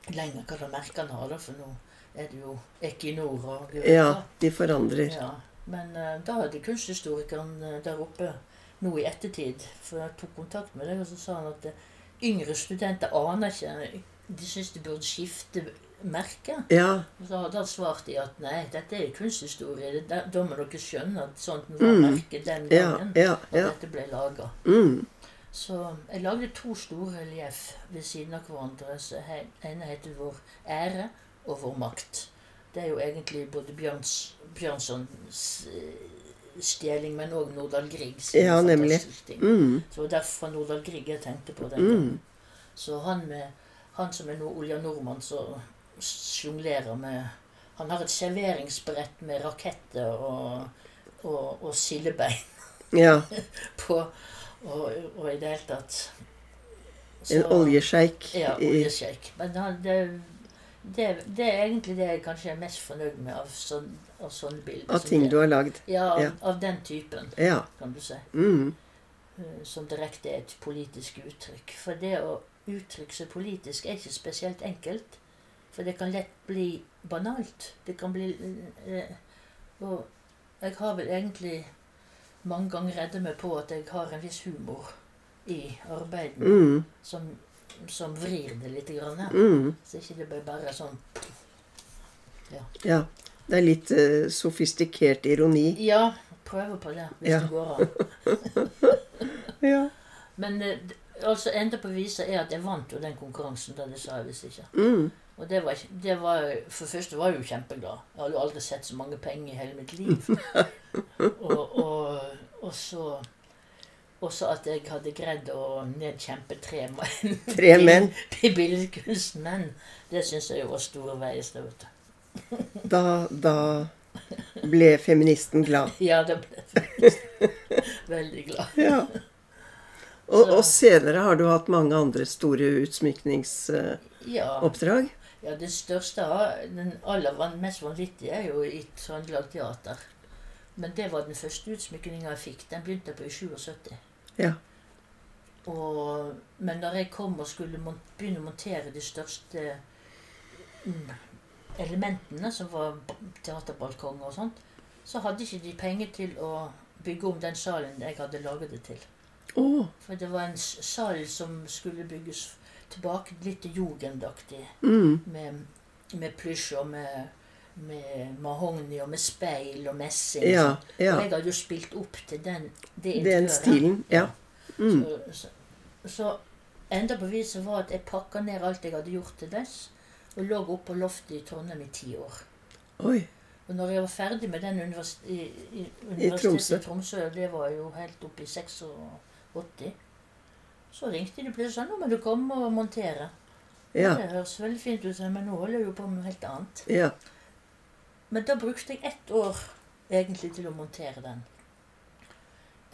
S2: lenger hva det merket han har, da, for nå er det jo Equinor og gud vet
S1: Ja.
S2: hva.
S1: De forandrer.
S2: ja. Men eh, da hadde kunsthistorikeren eh, der oppe nå i ettertid For jeg tok kontakt med deg, og så sa han at eh, yngre studenter aner ikke De syns de burde skifte merke.
S1: Ja.
S2: Og Da, da svarte de at nei, dette er kunsthistorie. det- Da, da må dere skjønne at sånt var
S1: Mm.
S2: merket den
S1: Ja.
S2: gangen.
S1: Ja.
S2: Og
S1: Ja.
S2: dette ble laga.
S1: Mm.
S2: Så jeg lagde to store relieff ved siden av hverandre. Så he- ene heter 'Vår ære' og 'Vår makt'. Det er jo egentlig både Bjørns, Bjørnsons eh, stjeling, men òg Nordahl Griegs
S1: Ja, nemlig.
S2: fantastiske ting.
S1: Mm.
S2: Så det var derfor Nordahl Grieg jeg tenkte på den gangen.
S1: Mm.
S2: Så han, med, han som er nå Olja Nordmann, som sjonglerer med Han har et serveringsbrett med raketter og, og, og sildebein
S1: Ja.
S2: på, og, og i det hele tatt
S1: En oljesjeik.
S2: Ja,
S1: i-
S2: oljesjeik. Men han, det Det, det er egentlig det jeg kanskje er mest fornøyd med av, sånn, av sånne bilder.
S1: Av
S2: som
S1: ting
S2: det.
S1: du har lagd.
S2: Ja, av,
S1: Ja.
S2: av den typen,
S1: Ja.
S2: kan du si.
S1: Mm.
S2: eh, Som direkte er et politisk uttrykk. For det å uttrykke seg politisk er ikke spesielt enkelt. For det kan lett bli banalt. Det kan bli eh, Og jeg har vel egentlig mange ganger redda meg på at jeg har en viss humor i arbeidet,
S1: Mm.
S2: som, som vrir det litt. Grann,
S1: Mm.
S2: Så ikke det blir bare sånn
S1: Ja. Det er litt eh, sofistikert ironi.
S2: Ja, prøve på det, hvis
S1: Ja.
S2: det går an.
S1: Ja.
S2: Men eh, d- altså, enda på viset er at jeg vant jo den konkurransen, da det sa jeg visst ikke.
S1: Mm.
S2: Og det var, ikke- det var For det første var jeg jo kjempeglad. Jeg hadde jo aldri sett så mange penger i hele mitt liv. Og, og, og så også at jeg hadde greid å nedkjempe tre menn.
S1: Tre menn.
S2: I billedkunstmenn. Det syns jeg jo var store veier. så vet du.
S1: Da, da ble feministen glad.
S2: Ja, da ble jeg faktisk veldig glad.
S1: Ja. Og,
S2: Så-
S1: og senere har du hatt mange andre store utsmykningsoppdrag.
S2: Ja. Ja, det største, den aller van- mest vanvittige, er jo i Trøndelag Teater. Men det var den første utsmykninga jeg fikk. Den begynte jeg på i 77.
S1: Ja.
S2: Og, men da jeg kom og skulle mon begynne å montere de største mm, elementene, som var b- teaterbalkonger og sånt, så hadde ikke de penger til å bygge om den salen jeg hadde laget det til.
S1: Å,
S2: For det var en s- sal som skulle bygges tilbake litt jugendaktig
S1: mm,
S2: med, med plysj og med, med mahogni og med speil og messing.
S1: ja,
S2: og sånn.
S1: ja.
S2: Og jeg hadde jo spilt opp til den, det
S1: Den stilen. Ja. Mm,
S2: Så, så, så enda på viset var at jeg pakka ned alt jeg hadde gjort til dess, og lå oppe på loftet i Trondheim i ti år.
S1: oi.
S2: Og når jeg var ferdig med den univers i, i,
S1: Tromsø.
S2: universitetet i Tromsø, det var jo helt oppe i 86, så ringte de plutselig og sa nå må du komme og montere.
S1: Ja,
S2: Det høres veldig fint ut, sa jeg, men nå holder jeg jo på med noe helt annet.
S1: ja.
S2: Men da brukte jeg ett år egentlig til å montere den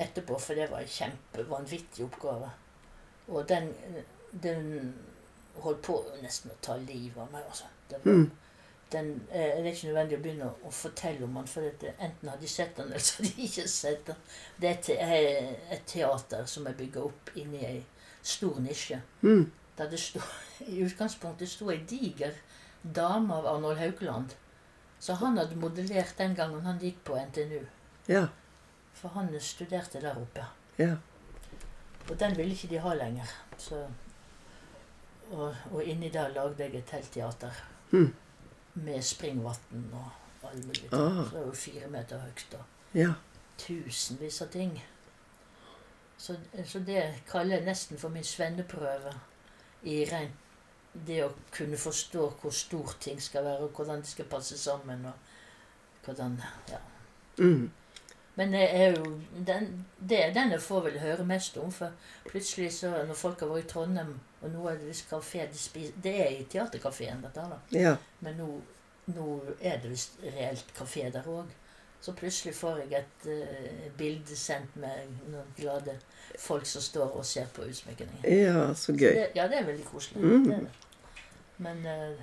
S2: etterpå, for det var en kjempevanvittig oppgave. Og den, den holdt på nesten å ta livet av meg. Altså. Det var,
S1: Mm.
S2: den, eh, det er ikke nødvendig å begynne å fortelle om den, for dette, enten har de sett den, eller så har de ikke sett den. Det er et, eh, et teater som er bygget opp inni ei stor nisje.
S1: Mm,
S2: Der det sto, I utgangspunktet sto ei diger dame av Arnold Haukeland. Så han hadde modellert den gangen han gikk på NTNU.
S1: ja,
S2: For han studerte der oppe.
S1: ja.
S2: Og den ville ikke de ha lenger. Så, og, og inni der lagde jeg et helt teater.
S1: Mhm.
S2: Med springvann og alle mulige ting.
S1: Ah.
S2: Så det var jo fire meter høyt. og
S1: Ja.
S2: tusenvis av ting. Så, så det kaller jeg nesten for min svenneprøve i rein det å kunne forstå hvor stort ting skal være, og hvordan de skal passe sammen. og hvordan, ja.
S1: Mm,
S2: Men det er jo den, det er den jeg får vel høre mest om. For plutselig, så, når folk har vært i Trondheim, og nå er det visst kafé de spiser Det er i teaterkafeen, dette her, da.
S1: ja.
S2: Men nå, nå er det visst reelt kafé der òg. Så plutselig får jeg et eh, bilde sendt med noen glade folk som står og ser på utsmykningen.
S1: Ja, så gøy.
S2: Det, ja, det er veldig koselig.
S1: Mm.
S2: Det er det. Men eh,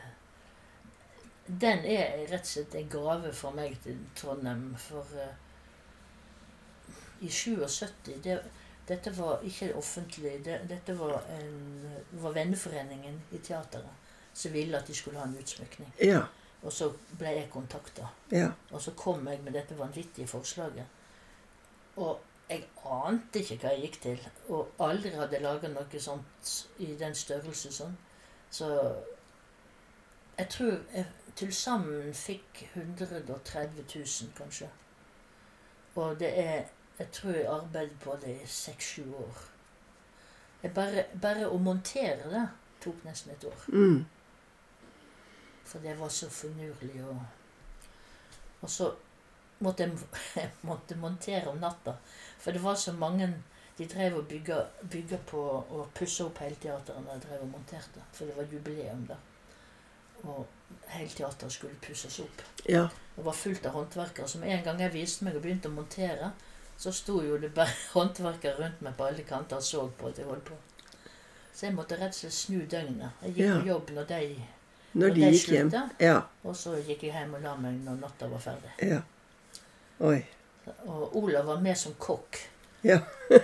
S2: den er rett og slett en gave for meg til Trondheim, for eh, i 77 det, Dette var ikke offentlig, det, dette var, en, var venneforeningen i teateret som ville at de skulle ha en utsmykning.
S1: Ja,
S2: Og så ble jeg kontakta.
S1: ja.
S2: Og så kom jeg med dette vanvittige forslaget. Og jeg ante ikke hva jeg gikk til. Og aldri hadde jeg laga noe sånt i den størrelse sånn. Så jeg tror jeg til sammen fikk 130 000, kanskje. Og det er Jeg tror jeg arbeidet på det i seks-sju år. Jeg bare, bare å montere det tok nesten et år.
S1: Mm,
S2: For det var så finurlig. Og, og så måtte jeg, jeg måtte montere om natta. For det var så mange De drev og bygga, bygga på og pussa opp hele teateret når jeg drev og monterte. For det var jubileum der. Og hele teateret skulle pusses opp.
S1: ja.
S2: Det var fullt av håndverkere som en gang jeg viste meg og begynte å montere, så sto jo det bare håndverkere rundt meg på alle kanter og så på at jeg holdt på. Så jeg måtte rett og slett snu døgnet. Jeg gikk på jobb når de
S1: Når de
S2: de
S1: gikk hjem.
S2: slutta?
S1: Ja.
S2: Og så gikk jeg hjem og la meg når natta var ferdig.
S1: ja. Oi.
S2: Og Olav var med som kokk,
S1: Ja.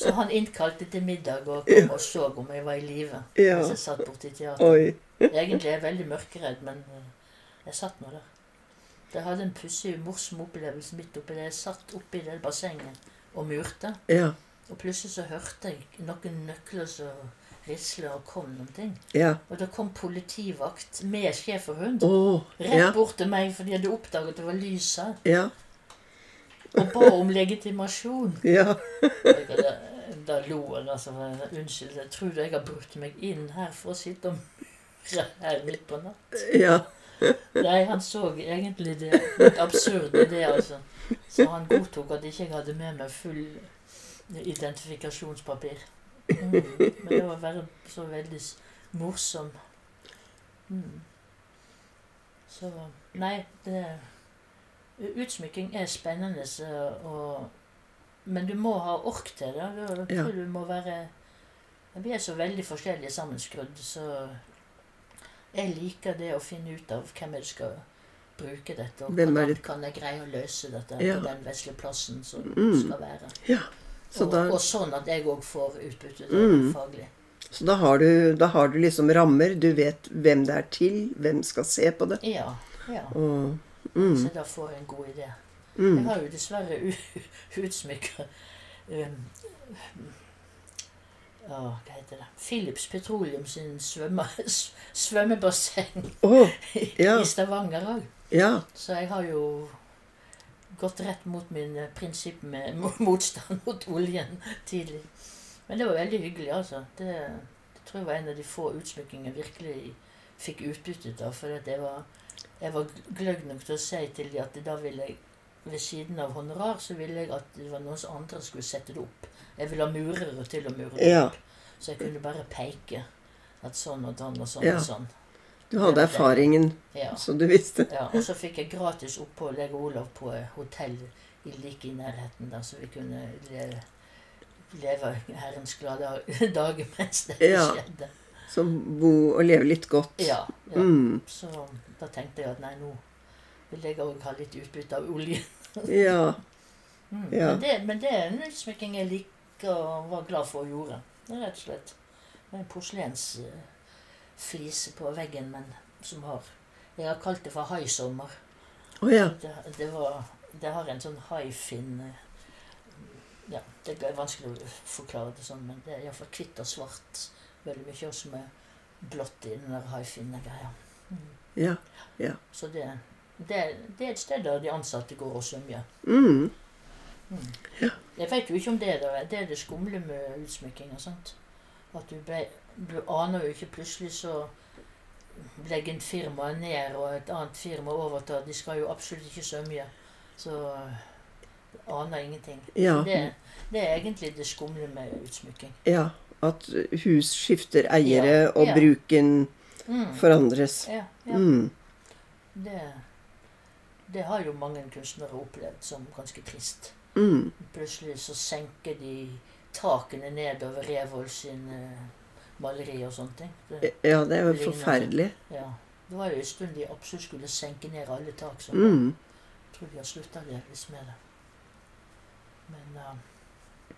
S2: så han innkalte til middag og kom og så om jeg var i live.
S1: Ja.
S2: Mens jeg satt borti teateret.
S1: Oi.
S2: Egentlig er jeg veldig mørkeredd, men eh, jeg satt nå der. Jeg hadde en pussig, morsom opplevelse midt oppi det. Jeg satt oppi det bassenget og murte.
S1: Ja.
S2: Og plutselig så hørte jeg noen nøkler som risla og kom noen ting.
S1: Ja.
S2: Og da kom politivakt med schæferhund
S1: Å. Ja.
S2: rett bort til meg, for de hadde oppdaget at det var lys her,
S1: Ja.
S2: og ba om legitimasjon.
S1: Ja.
S2: Og jeg hadde- Da lo han altså. Unnskyld, jeg tror jeg har brutt meg inn her for å sitte og murre her midt på natt.
S1: Ja.
S2: Nei, han så egentlig det litt absurde i det, altså. Så han godtok at ikke jeg hadde med meg full identifikasjonspapir. Mm. Men det var bare så veldig s- morsom. Mm. Så Nei, det Utsmykking er spennende, så, og, men du må ha ork til det. Du, jeg
S1: Ja.
S2: tror du må være Vi er så veldig forskjellige sammenskrudd, så jeg liker det å finne ut av hvem jeg skal bruke dette, og
S1: Hvem er
S2: hvordan
S1: det-
S2: kan jeg greie å løse dette
S1: Ja.
S2: på den vesle plassen som det
S1: Mm.
S2: skal være.
S1: ja. Så
S2: og,
S1: da,
S2: og sånn at jeg òg får utbytte av det
S1: Mm.
S2: faglig.
S1: så da har, du, da har du liksom rammer. Du vet hvem det er til, hvem skal se på det.
S2: Ja, ja.
S1: Og, mm,
S2: Så da får jeg en god idé. Jeg
S1: mm,
S2: har jo dessverre u- utsmykka um, ja, hva heter det Philips Petroleum sin svømme, s- svømmebasseng
S1: Å,
S2: i-
S1: Ja.
S2: i Stavanger òg.
S1: ja.
S2: Så jeg har jo gått rett mot min eh, prinsipp med mo- motstand mot oljen tidlig. Men det var veldig hyggelig, altså. Det, det tror jeg var en av de få utsmykkingene jeg virkelig fikk utbytte av. For at jeg var, jeg var gløgg nok til å si til de at da ville jeg ved siden av honorar så ville jeg at det var noen som andre som skulle sette det opp. Jeg ville ha murere til å mure det
S1: Ja.
S2: opp. Så jeg kunne bare peke. At sånn og sånn og sånn
S1: Ja.
S2: og sånn.
S1: Du hadde erfaringen,
S2: Ja.
S1: så du visste.
S2: Ja, og så fikk jeg gratis opphold, jeg og Olav, på et hotell i like i nærheten, der, så vi kunne leve, leve herrens glade dag- dager mens det
S1: Ja.
S2: skjedde.
S1: Som bo og leve litt godt.
S2: Ja, ja.
S1: Mm,
S2: Så da tenkte jeg at nei, nå vil jeg òg ha litt utbytte av olje.
S1: ja.
S2: Mm.
S1: Ja.
S2: Men, det, men det er en utsmykking jeg liker og var glad for å gjøre, rett og slett. Med en porselensflise på veggen, men som har Jeg har kalt det for haisommer.
S1: Å ja.
S2: Det, det, var, det har en sånn haifin eh, ja, Det er vanskelig å forklare det sånn, men det er iallfall hvitt og svart. Veldig mye også med blått i den der haifinne-greia. Mm.
S1: Ja.
S2: Så det, det, det er et sted der de ansatte går og sømmer.
S1: Mm,
S2: Jeg veit jo ikke om det er der. Det er det skumle med utsmykking og sånt. At du, ble, du aner jo ikke plutselig så legger en firma ned, og et annet firma overtar. De skal jo absolutt ikke sømje. Så du aner ingenting.
S1: ja.
S2: Det, det er egentlig det skumle med utsmykking.
S1: Ja. At hus skifter eiere,
S2: Ja,
S1: og
S2: ja.
S1: bruken
S2: Mm.
S1: forandres.
S2: Ja, ja.
S1: Mm.
S2: Det, det har jo mange kunstnere opplevd som ganske trist.
S1: Mm.
S2: Plutselig så senker de takene ned over Revold sin eh, maleri og sånne ting. Det,
S1: Ja, det er jo forferdelig.
S2: ja. det var jo en stund de absolutt skulle senke ned alle tak, så
S1: Mm.
S2: jeg tror de har slutta delvis med det. Men, eh,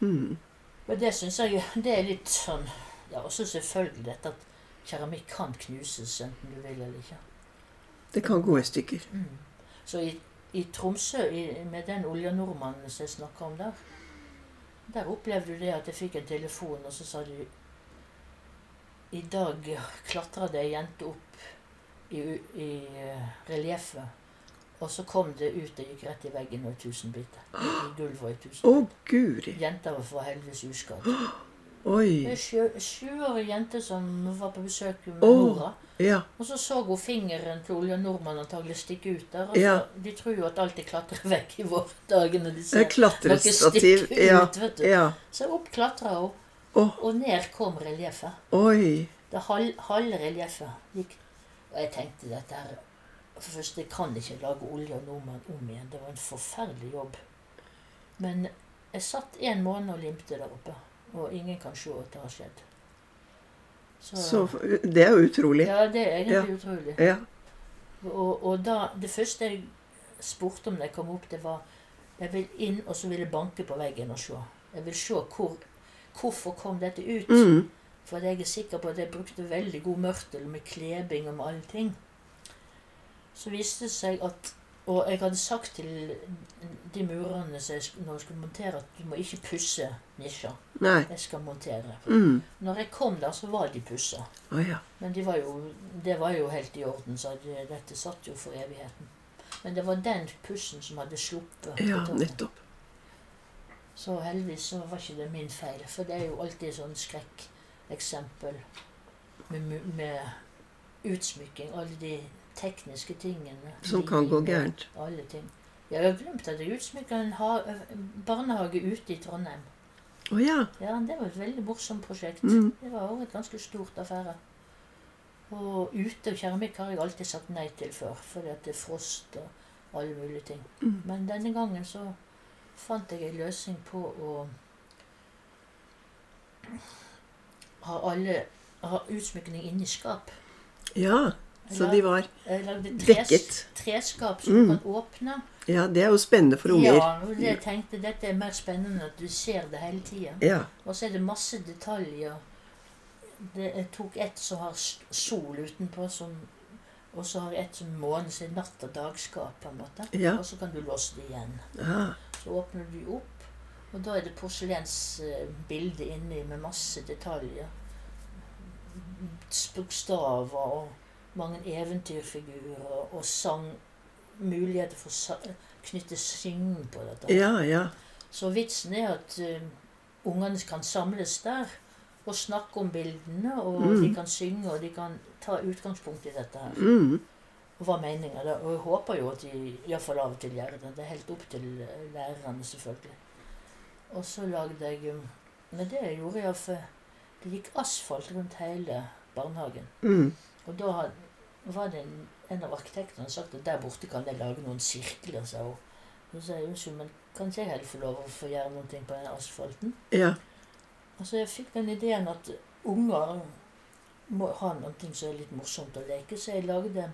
S1: Mm.
S2: men det syns jeg det er litt sånn Ja, også selvfølgelig dette at keramikk kan knuses enten du vil eller ikke.
S1: Det kan gå i stykker.
S2: Mm. Så i, i Tromsø, i, med den oljenordmannen som jeg snakka om der, der opplevde du det at jeg fikk en telefon, og så sa de I dag klatra det ei jente opp i, u- i eh, relieffet, og så kom det ut og gikk rett i veggen og i tusen biter. I gulvet og i tusen
S1: Å,
S2: biter.
S1: guri.
S2: Jenta var heldigvis uskadd.
S1: Oi.
S2: En sjø- sjuårig jente som var på besøk med
S1: Åh.
S2: mora.
S1: Ja.
S2: Og så så hun fingeren til Olja Nordmann antagelig stikke ut der. og
S1: Ja.
S2: så- De tror jo at alt er klatra vekk i våre dager når de
S1: Det
S2: ser
S1: er klatrestativ.
S2: stikke
S1: Ja.
S2: ut. vet du.
S1: ja.
S2: Så opp klatra hun,
S1: Åh.
S2: og ned kom relieffet.
S1: Oi.
S2: Det hal- halve relieffet gikk. Og jeg tenkte dette her For først, jeg kan ikke lage Olja Nordmann om igjen. Det var en forferdelig jobb. Men jeg satt en måned og limte der oppe, og ingen kan se at det har skjedd.
S1: Så det er jo utrolig.
S2: Ja, det er egentlig utrolig.
S1: Ja.
S2: Og, og da, det første jeg spurte om da jeg kom opp, det var Jeg vil inn, og så vil jeg banke på veggen og se. Jeg vil se hvor, hvorfor kom dette ut.
S1: Mm.
S2: For jeg er sikker på at jeg brukte veldig god mørtel med klebing og med alle ting. Så viste det seg at Og jeg hadde sagt til de murerne som jeg sk- når jeg skulle montere, at du må ikke pusse nisja.
S1: Nei.
S2: Jeg skal montere.
S1: Mm.
S2: Når jeg kom der, så var de pussa.
S1: Å ja.
S2: Men de var jo, det var jo helt i orden, så det, dette satt jo for evigheten. Men det var den pussen som hadde sluppet. på
S1: Ja,
S2: taket.
S1: nettopp.
S2: så heldigvis så var ikke det min feil, for det er jo alltid sånn skrekkeksempel med, mu- med utsmykking. Alle de tekniske tingene.
S1: Som
S2: De-
S1: kan gå gærent.
S2: Alle ting. Jeg har glemt at jeg utsmykka en ha barnehage ute i Trondheim.
S1: Å ja.
S2: Ja, Det var et veldig morsomt prosjekt.
S1: Mm.
S2: Det var også et ganske stort affære. Og ute og keramikk har jeg alltid sagt nei til før, fordi at det er frost og alle mulige ting.
S1: Mm.
S2: Men denne gangen så fant jeg en løsning på å ha alle ha utsmykning inni skap.
S1: ja. Så de var
S2: Jeg lagde tres,
S1: dekket.
S2: treskap som
S1: Mm.
S2: du kan åpne.
S1: Ja, det er jo spennende for unger.
S2: Ja, og det jeg tenkte dette er mer spennende at du ser det hele tida.
S1: Ja.
S2: Og så er det masse detaljer. Det, jeg tok ett som har s- sol utenpå, som, og så har jeg ett som måne, så er natt- og dagskap. på en måte.
S1: Ja.
S2: Og så kan du låse det igjen.
S1: Ah.
S2: Så åpner du opp, og da er det porselensbilde inni med masse detaljer. S- Bokstaver og mange eventyrfigurer og sang. Muligheter for å sa- knytte synging på dette.
S1: Ja, ja.
S2: Så vitsen er at eh, ungene kan samles der og snakke om bildene, og
S1: Mm.
S2: de kan synge, og de kan ta utgangspunkt i dette her.
S1: Mm.
S2: Og hva meningen er det? Og jeg håper jo at de iallfall av og til gjør det. Det er helt opp til eh, lærerne, selvfølgelig. Og så lagde jeg eh, Men det gjorde jeg for det gikk asfalt rundt hele barnehagen.
S1: Mm.
S2: Og da had- var det en, en av arkitektene sagt at der borte kan jeg lage noen sirkler, sa hun. Så sa jeg unnskyld, men kan ikke jeg heller få lov å få gjøre noen ting på den asfalten?
S1: Ja.
S2: Og så jeg fikk den ideen at unger må ha noen ting som er litt morsomt å leke, så jeg lagde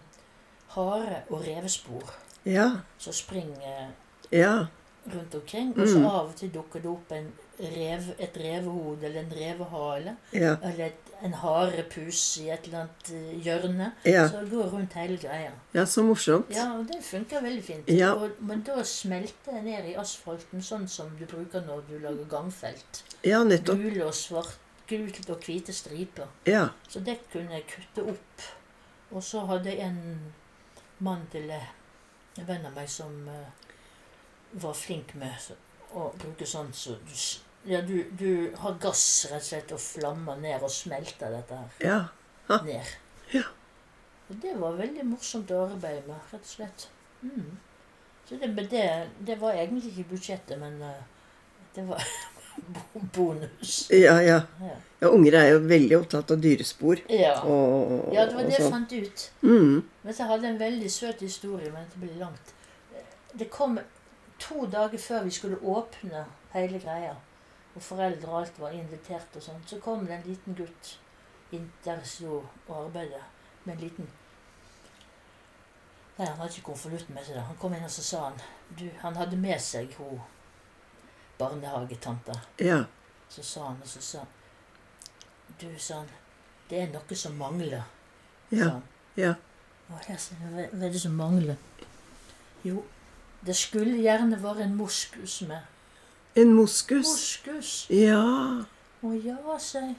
S2: hare- og revespor
S1: Ja.
S2: som springer
S1: Ja.
S2: rundt omkring. Og så
S1: Mm.
S2: av og til dukker det opp en rev, et revehode eller en revehale
S1: Ja.
S2: eller et, en harepus i et eller annet eh, hjørne.
S1: Ja.
S2: Så det går rundt hele greia.
S1: ja, så morsomt.
S2: Ja, og det funker veldig fint.
S1: Ja.
S2: Og, men da smelter det ned i asfalten, sånn som du bruker når du lager gangfelt.
S1: Ja, nettopp.
S2: Gule og svart, gult og hvite striper.
S1: Ja.
S2: Så det kunne jeg kutte opp. Og så hadde jeg en mann til eh, en venn av meg som eh, var flink med så- å bruke sånn så du, s- ja, du, du har gass rett og slett og flammer ned og smelter dette her
S1: Ja.
S2: ned.
S1: Ja.
S2: Og det var veldig morsomt å arbeide med, rett og slett. Mm. Så det, men det, det var egentlig ikke budsjettet, men eh, det var bo- bonus.
S1: Ja, ja.
S2: Ja.
S1: ja unger er jo veldig opptatt av dyrespor.
S2: Ja.
S1: Og,
S2: ja, det var
S1: og
S2: det jeg
S1: sånn.
S2: fant ut.
S1: Mm.
S2: Men så hadde jeg en veldig søt historie, men det blir langt. Det kom to dager før vi skulle åpne hele greia, og foreldre og alt var invitert og sånn, så kom det en liten gutt inn der jeg sto og arbeidet med en liten Nei, han hadde ikke konvolutten med seg. da. Han kom inn og så sa han du, Han hadde med seg hun barnehagetanta.
S1: Ja.
S2: Så sa han, og så sa han Du, sa han, det er noe som mangler. sa
S1: Ja.
S2: han.
S1: Ja.
S2: Å, her ser jeg, hva- Hva er det som mangler? Jo, det skulle gjerne vært en moskus med.
S1: En moskus.
S2: Moskus?
S1: Ja.
S2: Å ja, sa jeg.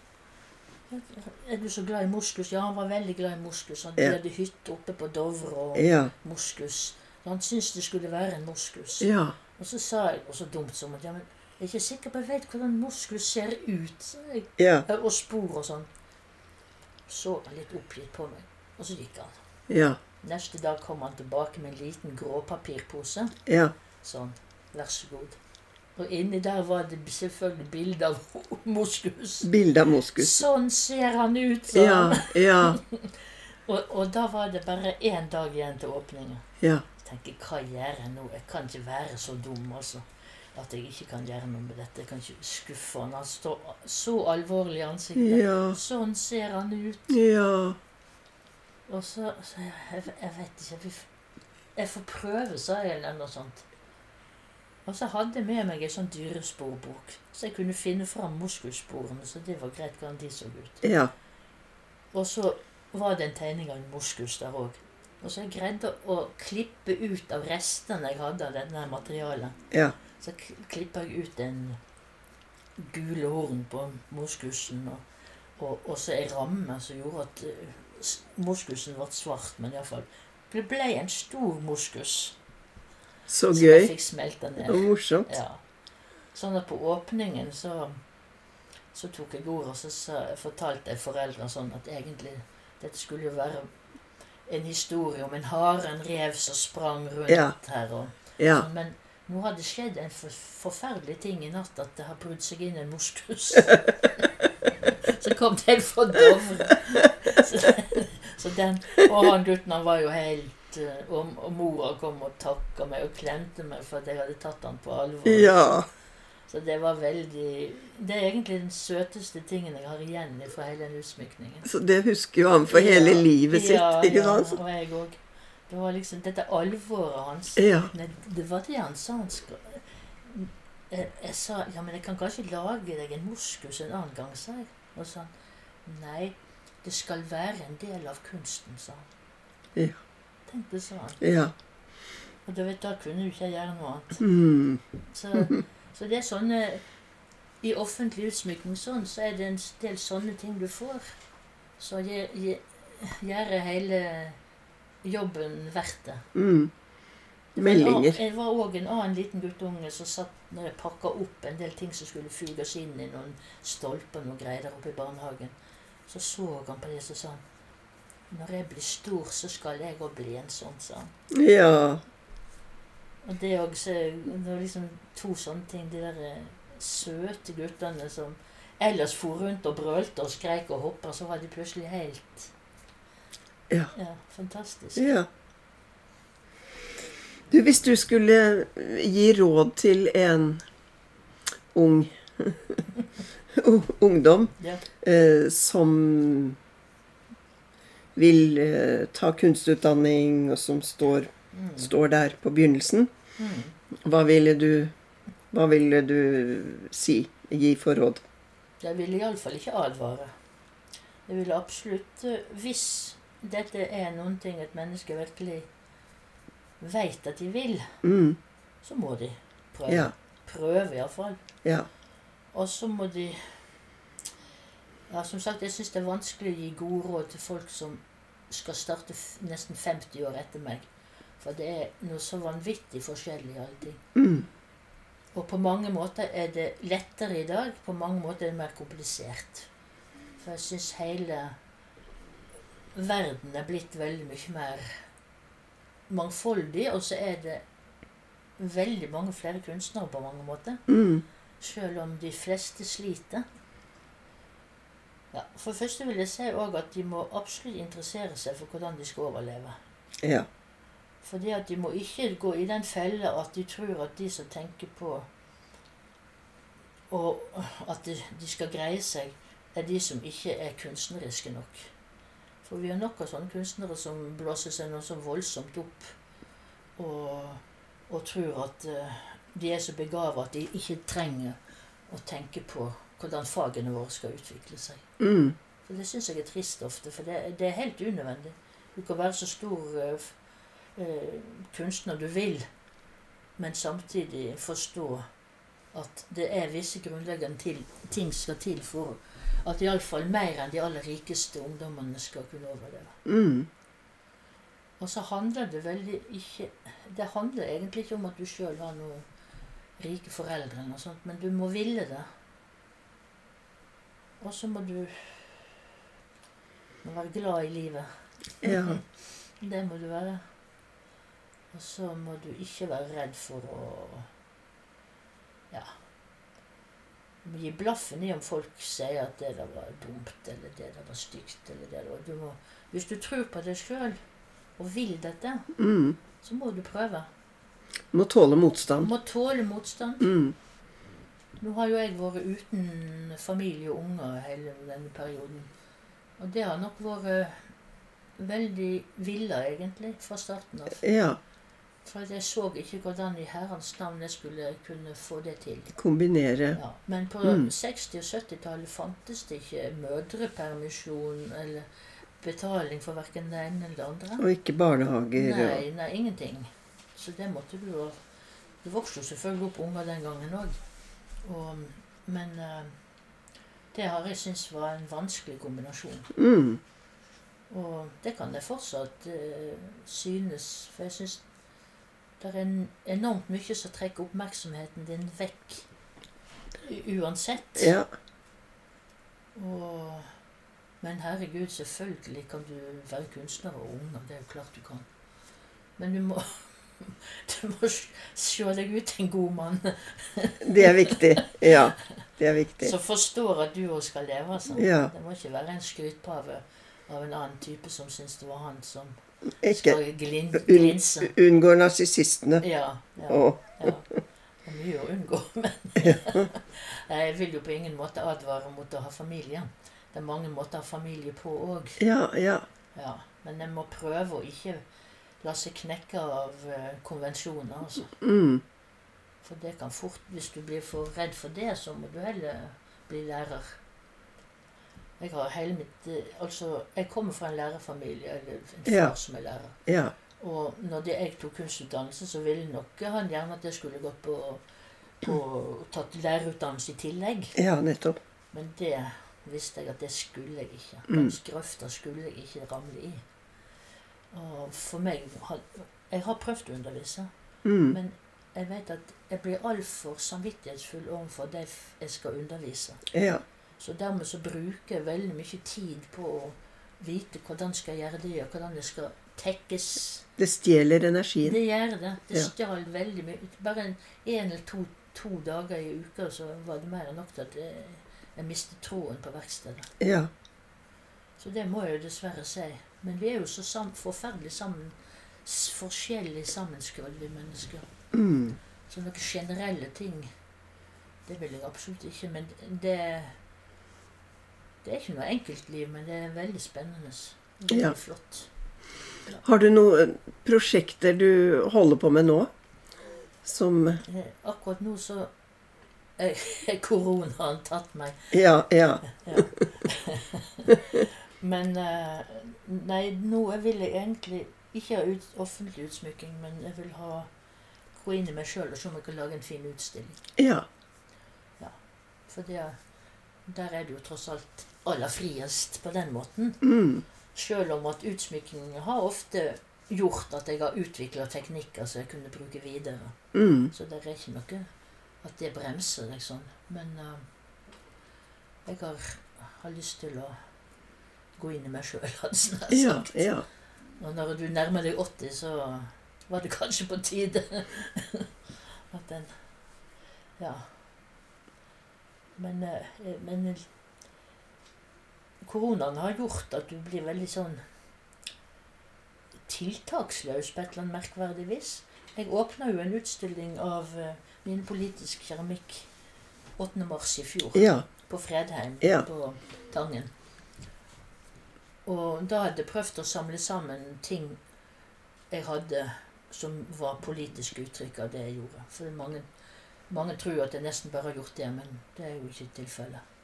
S2: Er du så glad i moskus? Ja, han var veldig glad i moskus. Han
S1: Ja.
S2: hadde hytte oppe på Dovre og
S1: Ja.
S2: moskus. Han syntes det skulle være en moskus.
S1: Ja.
S2: Og så sa jeg, og så dumt som at ja, men jeg er ikke sikker på jeg vet hvordan moskus ser ut. sa jeg.
S1: Ja.
S2: Og spor og sånn. Så han litt oppgitt på meg. Og så gikk han.
S1: Ja.
S2: Neste dag kom han tilbake med en liten grå papirpose.
S1: Ja.
S2: Sånn, vær så god. Og inni der var det selvfølgelig bilde av moskus.
S1: Bilde av moskus.
S2: Sånn ser han ut, sa
S1: Ja.
S2: han.
S1: Ja.
S2: Og, og da var det bare én dag igjen til åpningen.
S1: Ja.
S2: Jeg tenker, hva gjør jeg nå? Jeg kan ikke være så dum, altså. at jeg ikke kan gjøre noe med dette. Jeg kan ikke skuffe han. Han står så alvorlig i ansiktet.
S1: Ja.
S2: Sånn ser han ut.
S1: Ja.
S2: Og så sa jeg jeg, jeg vet ikke. vi f- Jeg får prøve, sa jeg, eller noe sånt. Og så hadde jeg med meg en sånn dyresporbok, så jeg kunne finne fram muskelsporene. Så det var greit hvordan de så ut.
S1: Ja.
S2: Og så var det en tegning av en moskus der òg. Og så jeg greide å klippe ut av restene jeg hadde av dette her materialet.
S1: Ja.
S2: Så k- klippa jeg ut en gule horn på moskusen, og, og, og så ei ramme som gjorde at eh, s- moskusen ble svart, men iallfall Det ble en stor moskus.
S1: Så
S2: Så jeg
S1: gøy
S2: fikk smelta ned.
S1: og morsomt.
S2: Ja. Sånn at på åpningen så, så tok jeg ordet og så sa- fortalte jeg foreldrene sånn at egentlig dette skulle jo være en historie om en hare, en rev som sprang rundt
S1: Ja.
S2: her. Og,
S1: Ja.
S2: sånn, Men nå har det skjedd en for, forferdelig ting i natt, at det har brutt seg inn en moskus. så kom den fra Dovre. så, så den, og han gutten han var jo helt eh, og, og mora kom og takka meg og klemte meg for at jeg hadde tatt han på alvor.
S1: Ja.
S2: Så det var veldig Det er egentlig den søteste tingen jeg har igjen fra hele den utsmykningen.
S1: Så det husker jo han for hele
S2: Ja,
S1: livet
S2: ja,
S1: sitt, ikke
S2: ja,
S1: sant?
S2: og jeg òg. Det var liksom dette alvoret hans.
S1: Ja.
S2: Nei, det var det han sa. Han skal... jeg, jeg sa ja, men jeg kan kanskje lage deg en moskus en annen gang, sa jeg. Og så sa han nei, det skal være en del av kunsten, sa han.
S1: Ja.
S2: Tenk det, sa han.
S1: Ja.
S2: Og da, vet, du, da kunne du ikke gjøre noe annet.
S1: Mm.
S2: Så, så det er sånne I offentlig utsmykning sånn, så er det en del sånne ting du får. Så gje- gje- gjør hele jobben verdt det.
S1: Mm.
S2: Det var en annen-
S1: Meldinger.
S2: Det var òg en annen liten guttunge som satt når jeg pakka opp en del ting som skulle fuges inn i noen stolper og noen greier der oppe i barnehagen. Så så han på det så sa han Når jeg blir stor, så skal jeg òg bli en sånn, sa han.
S1: Ja.
S2: Og det, er også, det var liksom to sånne ting. De der eh, søte guttene som ellers for rundt og brølte og skreik og hoppa, så var de plutselig helt
S1: Ja.
S2: ja fantastisk.
S1: Ja. Du, hvis du skulle gi råd til en ung ung- ungdom
S2: Ja.
S1: eh, som vil eh, ta kunstutdanning, og som står,
S2: Mm.
S1: står der på begynnelsen,
S2: Mm.
S1: hva ville du, hva ville du si? Gi for råd?
S2: Jeg vil iallfall ikke advare. Jeg vil absolutt eh, Hvis dette er noen ting et menneske virkelig veit at de vil,
S1: Mm.
S2: så må de prøve.
S1: Ja.
S2: Prøve, iallfall.
S1: Ja.
S2: Og så må de Ja, som sagt, jeg syns det er vanskelig å gi gode råd til folk som skal starte f nesten 50 år etter meg. For det er noe så vanvittig forskjellig i alle ting.
S1: Mm.
S2: Og på mange måter er det lettere i dag, på mange måter er det mer komplisert. For jeg syns hele verden er blitt veldig mye mer mangfoldig, og så er det veldig mange flere kunstnere på mange måter.
S1: Mm.
S2: Selv om de fleste sliter. Ja, for det første vil jeg si også at de må absolutt interessere seg for hvordan de skal overleve.
S1: Ja.
S2: Fordi at de må ikke gå i den fella at de tror at de som tenker på og at de, de skal greie seg, er de som ikke er kunstneriske nok. For vi har nok av sånne kunstnere som blåser seg noe så voldsomt opp og, og tror at eh, de er så begava at de ikke trenger å tenke på hvordan fagene våre skal utvikle seg.
S1: Mm.
S2: For Det syns jeg er trist ofte, for det, det er helt unødvendig. Du kan være så stor eh, f- eh, kunstner du vil, men samtidig forstå at det er visse grunnleggende til, ting skal til for at iallfall mer enn de aller rikeste ungdommene skal kunne overleve.
S1: Mm.
S2: Og så handler det veldig ikke Det handler egentlig ikke om at du sjøl har noen rike foreldre, eller noe sånt, men du må ville det. Og så må du må være glad i livet.
S1: Ja.
S2: Det må du være. Og så må du ikke være redd for å Ja. Du må gi blaffen i om folk sier at det der var dumt, eller det der var stygt, eller det der du må, Hvis du tror på deg sjøl og vil dette,
S1: Mm.
S2: så må du prøve.
S1: Må tåle motstand.
S2: Må tåle motstand.
S1: Mm.
S2: Nå har jo jeg vært uten familie og unger hele denne perioden. Og det har nok vært eh, veldig villa, egentlig, fra starten av.
S1: Ja.
S2: For jeg så ikke hvordan i herrens navn jeg skulle kunne få det til.
S1: Kombinere.
S2: Ja. Men på
S1: Mm.
S2: 60- og 70-tallet fantes det ikke mødrepermisjon eller betaling for verken det ene eller det andre.
S1: Og ikke barnehager. og-
S2: Nei, nei, ingenting. Så det måtte du jo Det vokste jo selvfølgelig opp unger den gangen òg. Og, men eh, det har jeg syntes var en vanskelig kombinasjon.
S1: Mm.
S2: Og det kan jeg fortsatt eh, synes, for jeg syns det er en, enormt mye som trekker oppmerksomheten din vekk. u- Uansett.
S1: Ja.
S2: Og, men herregud, selvfølgelig kan du være kunstner og unger. Det er jo klart du kan. Men du må, du må sj- se deg ut en god mann
S1: Det er viktig. Ja. Det er viktig.
S2: som forstår at du òg skal leve. Altså.
S1: Ja.
S2: Det må ikke være en skrytpave av en annen type som syns det var han som
S1: Ikke
S2: skal glin,
S1: Un-
S2: glinse.
S1: unngår narsissistene.
S2: Ja, ja,
S1: Og
S2: ja. Det er mye å unngå, men Nei, Jeg vil jo på ingen måte advare mot å ha familie. Det er mange måter å ha familie på òg.
S1: Ja, ja.
S2: Ja, men en må prøve å ikke la seg knekke av eh, konvensjoner, altså.
S1: Mm.
S2: For det kan fort Hvis du blir for redd for det, så må du heller bli lærer. Jeg har hele mitt eh, Altså, jeg kommer fra en lærerfamilie, eller en far
S1: Ja.
S2: som er lærer.
S1: Ja.
S2: Og når det, jeg tok kunstutdannelse, så ville nok han gjerne at jeg skulle gått på, på tatt lærerutdannelse i tillegg.
S1: Ja, nettopp.
S2: Men det visste jeg at det skulle jeg ikke.
S1: Mm.
S2: Den grøfta skulle jeg ikke ramle i. Og for meg har- Jeg har prøvd å undervise,
S1: Mm.
S2: men jeg vet at jeg blir altfor samvittighetsfull overfor de f- jeg skal undervise.
S1: Ja.
S2: Så dermed så bruker jeg veldig mye tid på å vite hvordan skal jeg gjøre det, og hvordan det skal tekkes.
S1: Det stjeler energien.
S2: Det gjør det. Det
S1: Ja.
S2: stjal veldig mye. Bare en, en eller to, to dager i uka så var det mer enn nok til at jeg, jeg mistet troen på verkstedet.
S1: Ja.
S2: Så det må jeg jo dessverre si. Men vi er jo så sam forferdelig sammen, s- forskjellig sammenskrudd, vi mennesker.
S1: Mm.
S2: Så noen generelle ting, det vil jeg absolutt ikke. Men det Det er ikke noe enkeltliv, men det er veldig spennende. Veldig
S1: Ja.
S2: flott.
S1: Har du noen prosjekter du holder på med nå? Som
S2: Eh, Akkurat nå så er koronaen tatt meg.
S1: Ja, ja.
S2: Men eh, Nei, nå jeg vil jeg egentlig ikke ha ut, offentlig utsmykking, men jeg vil ha gå inn i meg sjøl og se om jeg kan lage en fin utstilling.
S1: Ja.
S2: For det, der er det jo tross alt aller friest på den måten.
S1: Mm.
S2: Selv om at utsmykningen har ofte gjort at jeg har utvikla teknikker som jeg kunne bruke videre.
S1: Mm.
S2: Så det er ikke noe at det bremser, liksom. Men eh, jeg har, har lyst til å gå inn i meg sjøl, hadde jeg nær
S1: Ja,
S2: sagt.
S1: ja.
S2: Og når du nærmer deg 80, så var det kanskje på tide at den Ja. Men, eh, men koronaen har gjort at du blir veldig sånn tiltaksløs på et eller annet merkverdig vis. Jeg åpna jo en utstilling av eh, min politisk keramikk 8. mars i fjor
S1: Ja.
S2: på Fredheim
S1: Ja.
S2: på Tangen. Og da hadde jeg prøvd å samle sammen ting jeg hadde som var politiske uttrykk av det jeg gjorde. For mange, mange tror jo at jeg nesten bare har gjort det, men det er jo ikke tilfellet.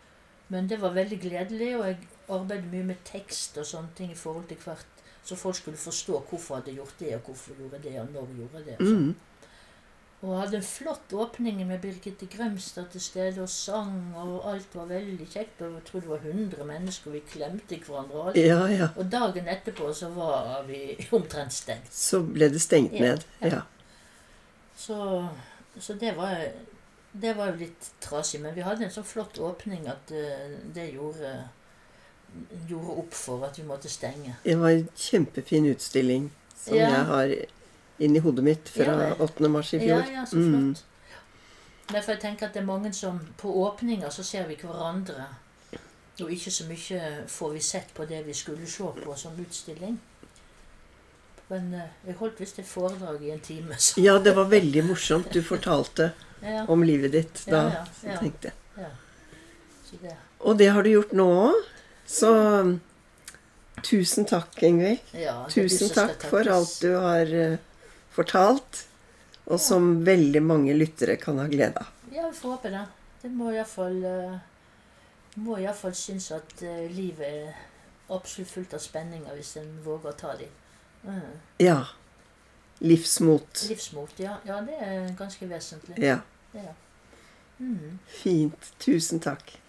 S2: Men det var veldig gledelig, og jeg arbeidet mye med tekst og sånne ting i forhold til hvert, så folk skulle forstå hvorfor jeg hadde gjort det, og hvorfor jeg gjorde det, og når jeg gjorde det. og sånn.
S1: Mm.
S2: Og hadde en flott åpning med Birgitte Grømstad til stede og sang, og alt var veldig kjekt. Og jeg tror det var 100 mennesker, og vi klemte hverandre. og alt.
S1: Ja, ja.
S2: Og dagen etterpå så var vi omtrent stengt.
S1: Så ble det stengt
S2: Ja,
S1: ned.
S2: ja.
S1: Ja.
S2: Så, så det, var, det var jo litt trasig. Men vi hadde en så flott åpning at eh, det gjorde, gjorde opp for at vi måtte stenge.
S1: Det var en kjempefin utstilling som
S2: Ja.
S1: jeg har inni hodet mitt fra
S2: Ja, vel.
S1: 8. mars i
S2: Ja,
S1: fjor. Mm.
S2: ja, så flott. Derfor jeg tenker at det er mange som På åpninger så ser vi hverandre. Og ikke så mye får vi sett på det vi skulle se på som utstilling. På Men eh, jeg holdt visst et foredrag i en time, så
S1: Ja, det var veldig morsomt du fortalte
S2: ja,
S1: om livet ditt da.
S2: Ja, ja, ja.
S1: så tenkte jeg.
S2: så det.
S1: Og det har du gjort nå òg. Så mm, tusen takk, Ingvild.
S2: Ja, det er de som
S1: Tusen
S2: skal
S1: takk for
S2: takkes.
S1: alt du har eh, fortalt, og som veldig mange lyttere kan ha glede av.
S2: Ja, vi får håpe det. Det må iallfall uh, Må iallfall synes at eh, livet er absolutt fullt av spenninger hvis en våger å ta dem. Mm.
S1: Ja. Livsmot.
S2: Livsmot, ja. ja. Det er ganske vesentlig.
S1: Ja.
S2: Ja. Mm.
S1: Fint. Tusen takk.